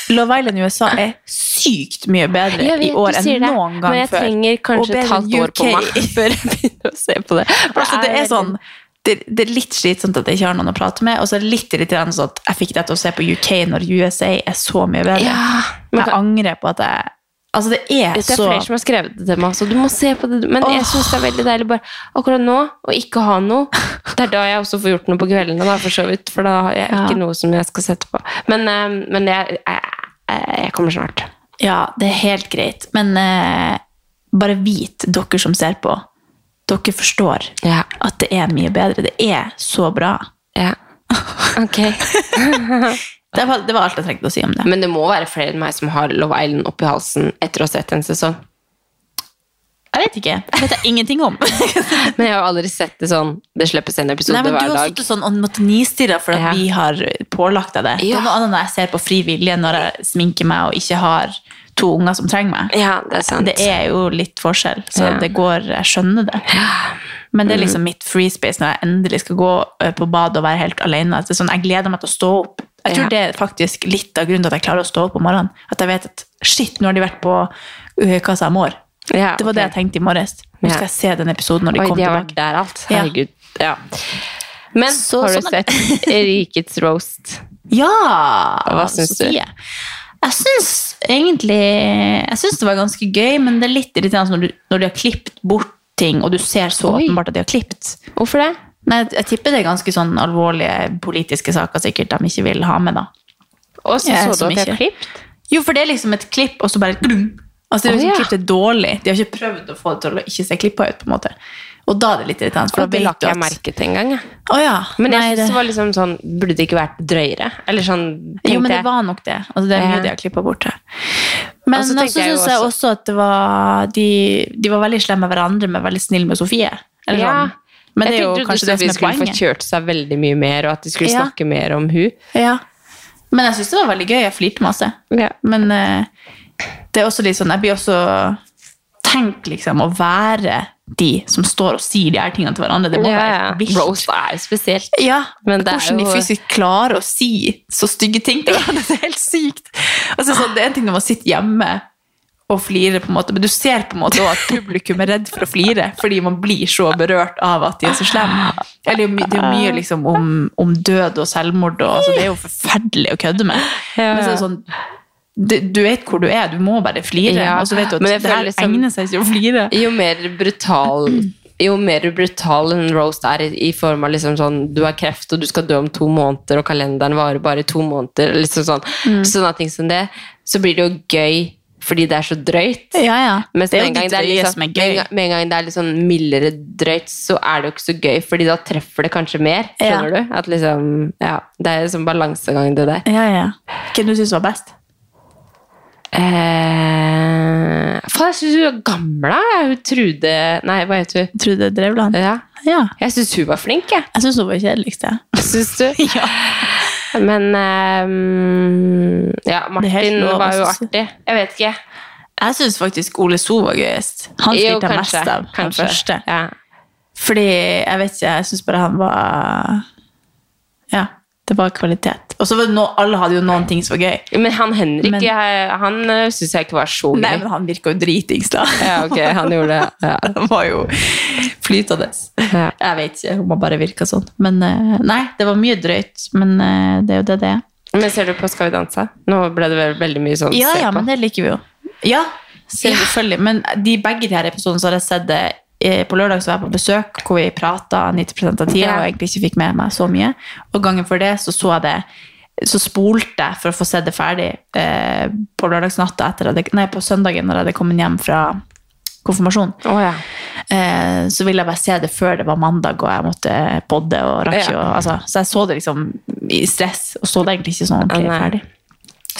Speaker 4: Love Island USA er sykt mye bedre
Speaker 3: Jeg vet
Speaker 4: i år
Speaker 3: du
Speaker 4: enn
Speaker 3: sier det,
Speaker 4: noen gang
Speaker 3: men jeg
Speaker 4: før.
Speaker 3: trenger
Speaker 4: Og
Speaker 3: kanskje
Speaker 4: bedre
Speaker 3: et halvt
Speaker 4: enn
Speaker 3: år på
Speaker 4: UK.
Speaker 3: meg før jeg begynner å se på det. For
Speaker 4: Altså, det er sånn det, det er litt slitsomt at jeg ikke har noen å prate med, og så er det litt irriterende sånn at jeg fikk deg til å se på UK når USA er så mye bedre.
Speaker 3: Ja, men
Speaker 4: jeg
Speaker 3: kan-
Speaker 4: angrer på at jeg Altså, det er,
Speaker 3: Det er
Speaker 4: så
Speaker 3: flere som har skrevet det til meg, så du må se på det. Men jeg synes det er veldig deilig bare akkurat nå å ikke ha noe. Det er da jeg også får gjort noe på kveldene, da, for så vidt. For da har jeg
Speaker 4: Ja.
Speaker 3: ikke noe som jeg skal sette på. Men, eh, men jeg, jeg, jeg kommer snart.
Speaker 4: Ja, det er helt greit, men eh, bare vit, dere som ser på, dere forstår
Speaker 3: Ja.
Speaker 4: at det er mye bedre. Det er så bra.
Speaker 3: ja. Ok.
Speaker 4: Det var, det var alt jeg trengte å si om det.
Speaker 3: Men det må være flere enn meg som har Love Island oppi halsen etter å ha sett en sesong.
Speaker 4: Jeg vet ikke. Det vet jeg ingenting om.
Speaker 3: Men jeg har jo aldri sett det sånn. Det slippes en episode
Speaker 4: Nei, men
Speaker 3: hver
Speaker 4: Du har
Speaker 3: dag.
Speaker 4: sittet sånn og måttet nistirre for at
Speaker 3: Ja.
Speaker 4: vi har pålagt deg det. Det
Speaker 3: Ja.
Speaker 4: er noe annet når jeg ser på fri vilje, når jeg sminker meg og ikke har to unger som trenger meg.
Speaker 3: Ja, det er sant.
Speaker 4: Det er jo litt forskjell, så
Speaker 3: Ja. Mm.
Speaker 4: det går, jeg skjønner det. Men det er Altså, liksom mitt free space når jeg endelig skal gå ø, på badet og være helt alene. At Det er sånn, jeg gleder meg til å stå opp. Jeg Jeg tror det er faktisk litt av grunnen til at jeg klarer å stå opp om morgenen. At jeg vet at shit, nå har de vært på Øyekassa i morgen.
Speaker 3: Ja,
Speaker 4: det var det jeg tenkte i morges. Nå
Speaker 3: Ja.
Speaker 4: skal jeg se den episoden når de
Speaker 3: Oi,
Speaker 4: kommer
Speaker 3: de har
Speaker 4: tilbake.
Speaker 3: vært der alt.
Speaker 4: Ja.
Speaker 3: Herregud. Ja. Men
Speaker 4: Så
Speaker 3: har du
Speaker 4: sånn-
Speaker 3: sett Rikets roast?
Speaker 4: Ja!
Speaker 3: Hva syns du?
Speaker 4: Sofie. Jeg syns egentlig Jeg syns det var ganske gøy, men det er litt irriterende når, du, når de har klippet bort ting, og du ser så åpenbart at de har klippet.
Speaker 3: Hvorfor det?
Speaker 4: Nei, jeg, jeg tipper det er ganske sånn alvorlige politiske saker sikkert de ikke vil ha med, da.
Speaker 3: Og så
Speaker 4: Jeg
Speaker 3: så
Speaker 4: som
Speaker 3: du at jeg
Speaker 4: ikke-
Speaker 3: har klippet?
Speaker 4: Jo, for det er liksom et klipp, og så bare glum. Altså, det er
Speaker 3: Å,
Speaker 4: liksom
Speaker 3: ja.
Speaker 4: klippet dårlig. De har ikke prøvd å få det til å ikke se klippa ut, på en måte. Og da er det litt irriterende, for
Speaker 3: Og
Speaker 4: da
Speaker 3: det la
Speaker 4: vet du
Speaker 3: ikke jeg
Speaker 4: at
Speaker 3: merke til engang. jeg.
Speaker 4: Å ja.
Speaker 3: Men jeg
Speaker 4: Nei,
Speaker 3: synes det var liksom sånn Burde det ikke vært drøyere? Eller sånn tenkte
Speaker 4: Jo, men det
Speaker 3: jeg.
Speaker 4: var nok det. Altså, det er
Speaker 3: Ja.
Speaker 4: mye de har klippa bort. her. Men
Speaker 3: Og så
Speaker 4: så
Speaker 3: tenkte
Speaker 4: altså,
Speaker 3: jeg jo
Speaker 4: syns jeg
Speaker 3: også-
Speaker 4: også at det var de, de var veldig slemme med hverandre, men veldig snille med Sofie. Eller
Speaker 3: Ja.
Speaker 4: sånn. Men det
Speaker 3: jeg
Speaker 4: er
Speaker 3: tenkte
Speaker 4: jo
Speaker 3: jo
Speaker 4: kanskje det
Speaker 3: Sofie
Speaker 4: som er
Speaker 3: skulle
Speaker 4: poenget.
Speaker 3: få kjørt seg veldig mye mer, og at de skulle
Speaker 4: Ja.
Speaker 3: snakke mer om hun.
Speaker 4: Ja. Men jeg syns det var veldig gøy. Jeg flirte masse.
Speaker 3: Ja.
Speaker 4: Men eh, det er også litt sånn Jeg blir også Tenk liksom å være de som står og sier de her tingene til hverandre. Det må være vilt.
Speaker 3: Roast er jo spesielt.
Speaker 4: Ja,
Speaker 3: Men det er
Speaker 4: Hvordan de
Speaker 3: jo-
Speaker 4: fysisk klarer å si så stygge ting til hverandre. Det er helt sykt. Altså, sånn, det er en ting når man sitter hjemme og flirer, på en måte, men du ser på en måte også at publikum er redd for å flire fordi man blir så berørt av at de er så slemme. Eller, det er jo my- det er jo mye liksom, om, om død og selvmord, og, altså, det er jo forferdelig å kødde med.
Speaker 3: Ja.
Speaker 4: Men så er det sånn, du, du vet hvor du er, du må bare flire.
Speaker 3: Ja,
Speaker 4: Og så vet du at
Speaker 3: men jeg
Speaker 4: det
Speaker 3: føler
Speaker 4: her
Speaker 3: liksom-
Speaker 4: egner seg ikke å flire.
Speaker 3: Jo mer brutal jo mer brutal en roast er i, i form av liksom sånn, du har kreft og du skal dø om to måneder, og kalenderen varer bare i to måneder, liksom sånn,
Speaker 4: Mm.
Speaker 3: sånne ting som det, så blir det jo gøy fordi det er så drøyt.
Speaker 4: Ja, ja.
Speaker 3: Mens
Speaker 4: Det er jo
Speaker 3: med en gang
Speaker 4: det
Speaker 3: det er litt
Speaker 4: drøye
Speaker 3: sånn-
Speaker 4: som er
Speaker 3: Med en
Speaker 4: gøy.
Speaker 3: gang, med en gang det er litt sånn mildere drøyt, så er det jo ikke så gøy, fordi da treffer det kanskje mer. Skjønner du? At liksom, ja, det er en sånn balansegang, det der.
Speaker 4: Ja, ja. Hvem du syns var best?
Speaker 3: Eh, faen, jeg syns hun var gammel, da. Hun Trude Nei, hva heter hun?
Speaker 4: Trude Drevland.
Speaker 3: Ja.
Speaker 4: Ja.
Speaker 3: Jeg syns hun var flink, jeg.
Speaker 4: Jeg syns hun var kjedeligst, jeg.
Speaker 3: Syns du? Men ehm, Ja,
Speaker 4: Det er helt
Speaker 3: Martin
Speaker 4: lov, altså.
Speaker 3: var jo
Speaker 4: jeg synes.
Speaker 3: artig. Jeg vet ikke.
Speaker 4: Jeg syns faktisk Ole So var gøyest. Han
Speaker 3: Jo,
Speaker 4: flirte jeg mest
Speaker 3: kanskje,
Speaker 4: av. Han
Speaker 3: kanskje.
Speaker 4: første.
Speaker 3: Ja.
Speaker 4: Fordi jeg vet ikke, jeg syns bare han var Ja, det var kvalitet. Og så var det no, alle hadde jo noen ting som var gøy.
Speaker 3: Men han Henrik
Speaker 4: Men-
Speaker 3: jeg, han syns jeg ikke var så gøy.
Speaker 4: Nei, men han virka jo dritings, da.
Speaker 3: Ja, ok, han gjorde det. Ja.
Speaker 4: Han var jo flytende.
Speaker 3: Ja.
Speaker 4: Jeg vet ikke, hun må bare virke sånn. Men eh, nei, det var mye drøyt. Men eh, det er jo det det er.
Speaker 3: Men ser du på Skal vi danse? Nå ble det vel veldig mye sånn
Speaker 4: Ja,
Speaker 3: se
Speaker 4: ja,
Speaker 3: på.
Speaker 4: men det liker vi jo. Ja, selvfølgelig. Men de, begge de her episodene så har jeg sett det eh, på lørdag så var jeg på besøk hvor vi prata 90 av tida
Speaker 3: Ja.
Speaker 4: og egentlig ikke fikk med meg så mye. Og gangen før det så så jeg det så spolte jeg for å få sett det ferdig eh, på lørdagsnatta etter at jeg, nei, på søndagen når jeg hadde kommet hjem fra konfirmasjon.
Speaker 3: Å, ja.
Speaker 4: Eh, så ville jeg bare se det før det var mandag, og jeg måtte podde og rakk
Speaker 3: Ja.
Speaker 4: jo altså, Så jeg så det liksom i stress, og så det egentlig ikke sånn ordentlig
Speaker 3: Nei.
Speaker 4: ferdig.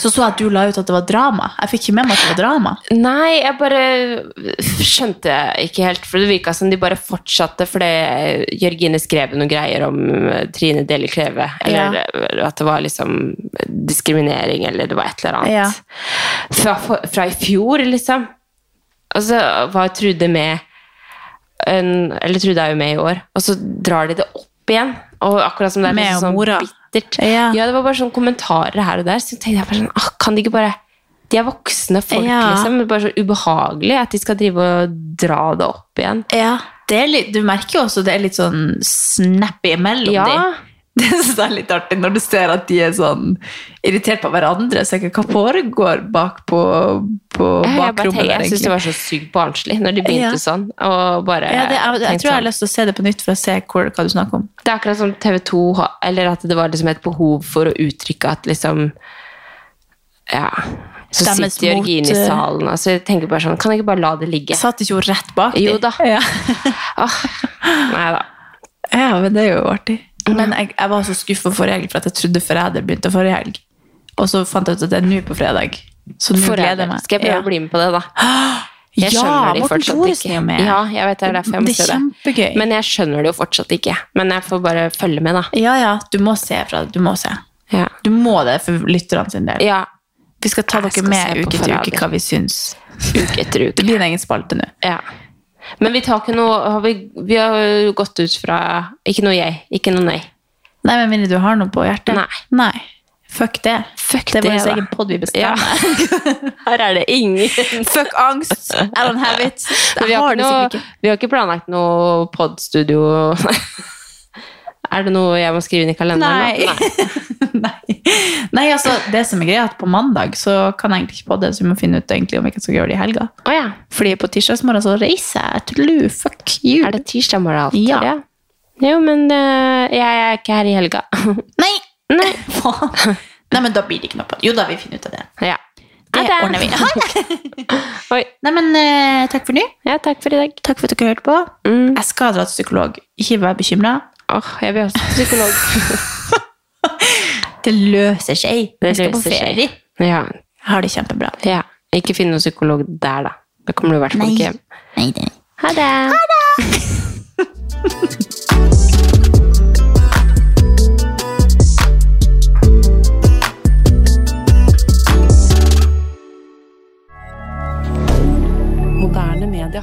Speaker 4: Så så jeg at du la ut at det var drama. Jeg fikk ikke med meg at det var drama.
Speaker 3: Nei, jeg bare skjønte ikke helt, for det virka som de bare fortsatte fordi Jørgine skrev noen greier om eh, Trine Deli Kleve, eller eh, at det var liksom diskriminering, eller det var et eller annet.
Speaker 4: Ja.
Speaker 3: Fra, fra i fjor, liksom. Og så var Trude med en, Eller Trude er jo med i år, og så drar de det opp igjen. Og akkurat som det er
Speaker 4: Med
Speaker 3: liksom sånn
Speaker 4: mora.
Speaker 3: bittert.
Speaker 4: Ja.
Speaker 3: det var bare sånne kommentarer her og der. Så tenkte jeg bare sånn, ah, kan de ikke bare De er voksne folk,
Speaker 4: Ja.
Speaker 3: liksom. Det er bare så ubehagelig at de skal drive og dra det opp igjen.
Speaker 4: Ja, det er litt, Du merker jo også det er litt sånn snappy imellom
Speaker 3: Ja.
Speaker 4: de. Det synes jeg er litt artig når du ser at de er sånn irritert på hverandre. Så jeg ikke hva foregår bak på, på
Speaker 3: Jeg, jeg, bare
Speaker 4: bakrommet
Speaker 3: tenker,
Speaker 4: der,
Speaker 3: jeg syns det
Speaker 4: egentlig.
Speaker 3: var så sykt barnslig når de
Speaker 4: Ja.
Speaker 3: begynte sånn. Og bare
Speaker 4: Ja, det, jeg, jeg tror
Speaker 3: tenkte
Speaker 4: jeg har
Speaker 3: sånn,
Speaker 4: lyst til å se det på nytt for å se hvor, hva du snakker om.
Speaker 3: Det er akkurat som TV 2 har- Eller at det var liksom et behov for å uttrykke at liksom Ja. Så
Speaker 4: Stemmes
Speaker 3: sitter
Speaker 4: mot,
Speaker 3: Jørgine i
Speaker 4: eh,
Speaker 3: salen, og så tenker jeg bare sånn Kan jeg ikke bare la det ligge?
Speaker 4: Satt ikke hun rett bak de?
Speaker 3: Jo da.
Speaker 4: Ja.
Speaker 3: Ah, nei da.
Speaker 4: Ja, men det er jo artig. Men jeg, jeg var så skuffa forrige helg, for at jeg trodde forræder begynte forrige helg. Og så fant jeg ut at det er nå på fredag. Så nå gleder jeg meg.
Speaker 3: Skal jeg prøve å bli med på det, da? Jeg
Speaker 4: ja,
Speaker 3: skjønner det
Speaker 4: Morten
Speaker 3: fortsatt
Speaker 4: Thoresen er jo
Speaker 3: ikke.
Speaker 4: med.
Speaker 3: Ja, jeg vet det er derfor jeg må
Speaker 4: Det er
Speaker 3: se det.
Speaker 4: kjempegøy.
Speaker 3: Men jeg skjønner det jo fortsatt ikke. Men jeg får bare følge med, da.
Speaker 4: Ja, ja, du må se, fra, du må se.
Speaker 3: Ja.
Speaker 4: Du må det for lytterne sin del.
Speaker 3: ja.
Speaker 4: Vi skal ta
Speaker 3: Jeg
Speaker 4: dere
Speaker 3: skal se
Speaker 4: med
Speaker 3: på
Speaker 4: uke til
Speaker 3: Forræder.
Speaker 4: uke hva vi syns.
Speaker 3: Uke etter
Speaker 4: Det
Speaker 3: uke.
Speaker 4: blir en egen spalte nå.
Speaker 3: Ja. Men vi tar ikke noe har vi, vi har jo gått ut fra Ikke noe jeg, ikke noe nei.
Speaker 4: Nei, men mindre du har noe på hjertet.
Speaker 3: Nei.
Speaker 4: Fuck det. det er
Speaker 3: det,
Speaker 4: vår
Speaker 3: da.
Speaker 4: egen pod vi bestemmer.
Speaker 3: Her er det ingen
Speaker 4: Fuck angst. I don't have it.
Speaker 3: Men vi,
Speaker 4: Jeg
Speaker 3: har
Speaker 4: har
Speaker 3: ikke
Speaker 4: det
Speaker 3: noe,
Speaker 4: sikkert ikke.
Speaker 3: vi har ikke planlagt noe podstudio Er det noe jeg må skrive inn i kalenderen?
Speaker 4: Nei.
Speaker 3: nå?
Speaker 4: Nei, altså, det som er greia er at på mandag så kan jeg egentlig ikke podde, så vi må finne ut egentlig om vi ikke skal gjøre det i helga.
Speaker 3: Oh, ja.
Speaker 4: Fordi på tirsdagsmorgen så reiser jeg. Tudelu, fuck you.
Speaker 3: Er det tirsdag morgen alltid?
Speaker 4: Ja.
Speaker 3: Jo, men eh, jeg er ikke her i helga.
Speaker 4: Nei!
Speaker 3: Nei.
Speaker 4: Faen. Nei, men da blir det ikke noe på Jo da, vi finner ut av det.
Speaker 3: Ja.
Speaker 4: Det
Speaker 3: Ha det.
Speaker 4: ordner vi. Ha det!
Speaker 3: Oi.
Speaker 4: Nei, men eh, takk for nå.
Speaker 3: Ja, takk for i dag.
Speaker 4: Takk for at dere hørte på.
Speaker 3: Mm.
Speaker 4: Jeg skal dra til psykolog. Ikke vær bekymra.
Speaker 3: Åh, jeg blir også psykolog.
Speaker 4: Det løser seg.
Speaker 3: Det
Speaker 4: Vi skal på
Speaker 3: løser seg.
Speaker 4: ferie.
Speaker 3: Ja.
Speaker 4: Jeg har det kjempebra.
Speaker 3: ja. Ikke finn noen psykolog der, da. Da kommer du i hvert fall
Speaker 4: Nei.
Speaker 3: ikke hjem.
Speaker 4: Nei, det
Speaker 3: Ha det! Moderne media.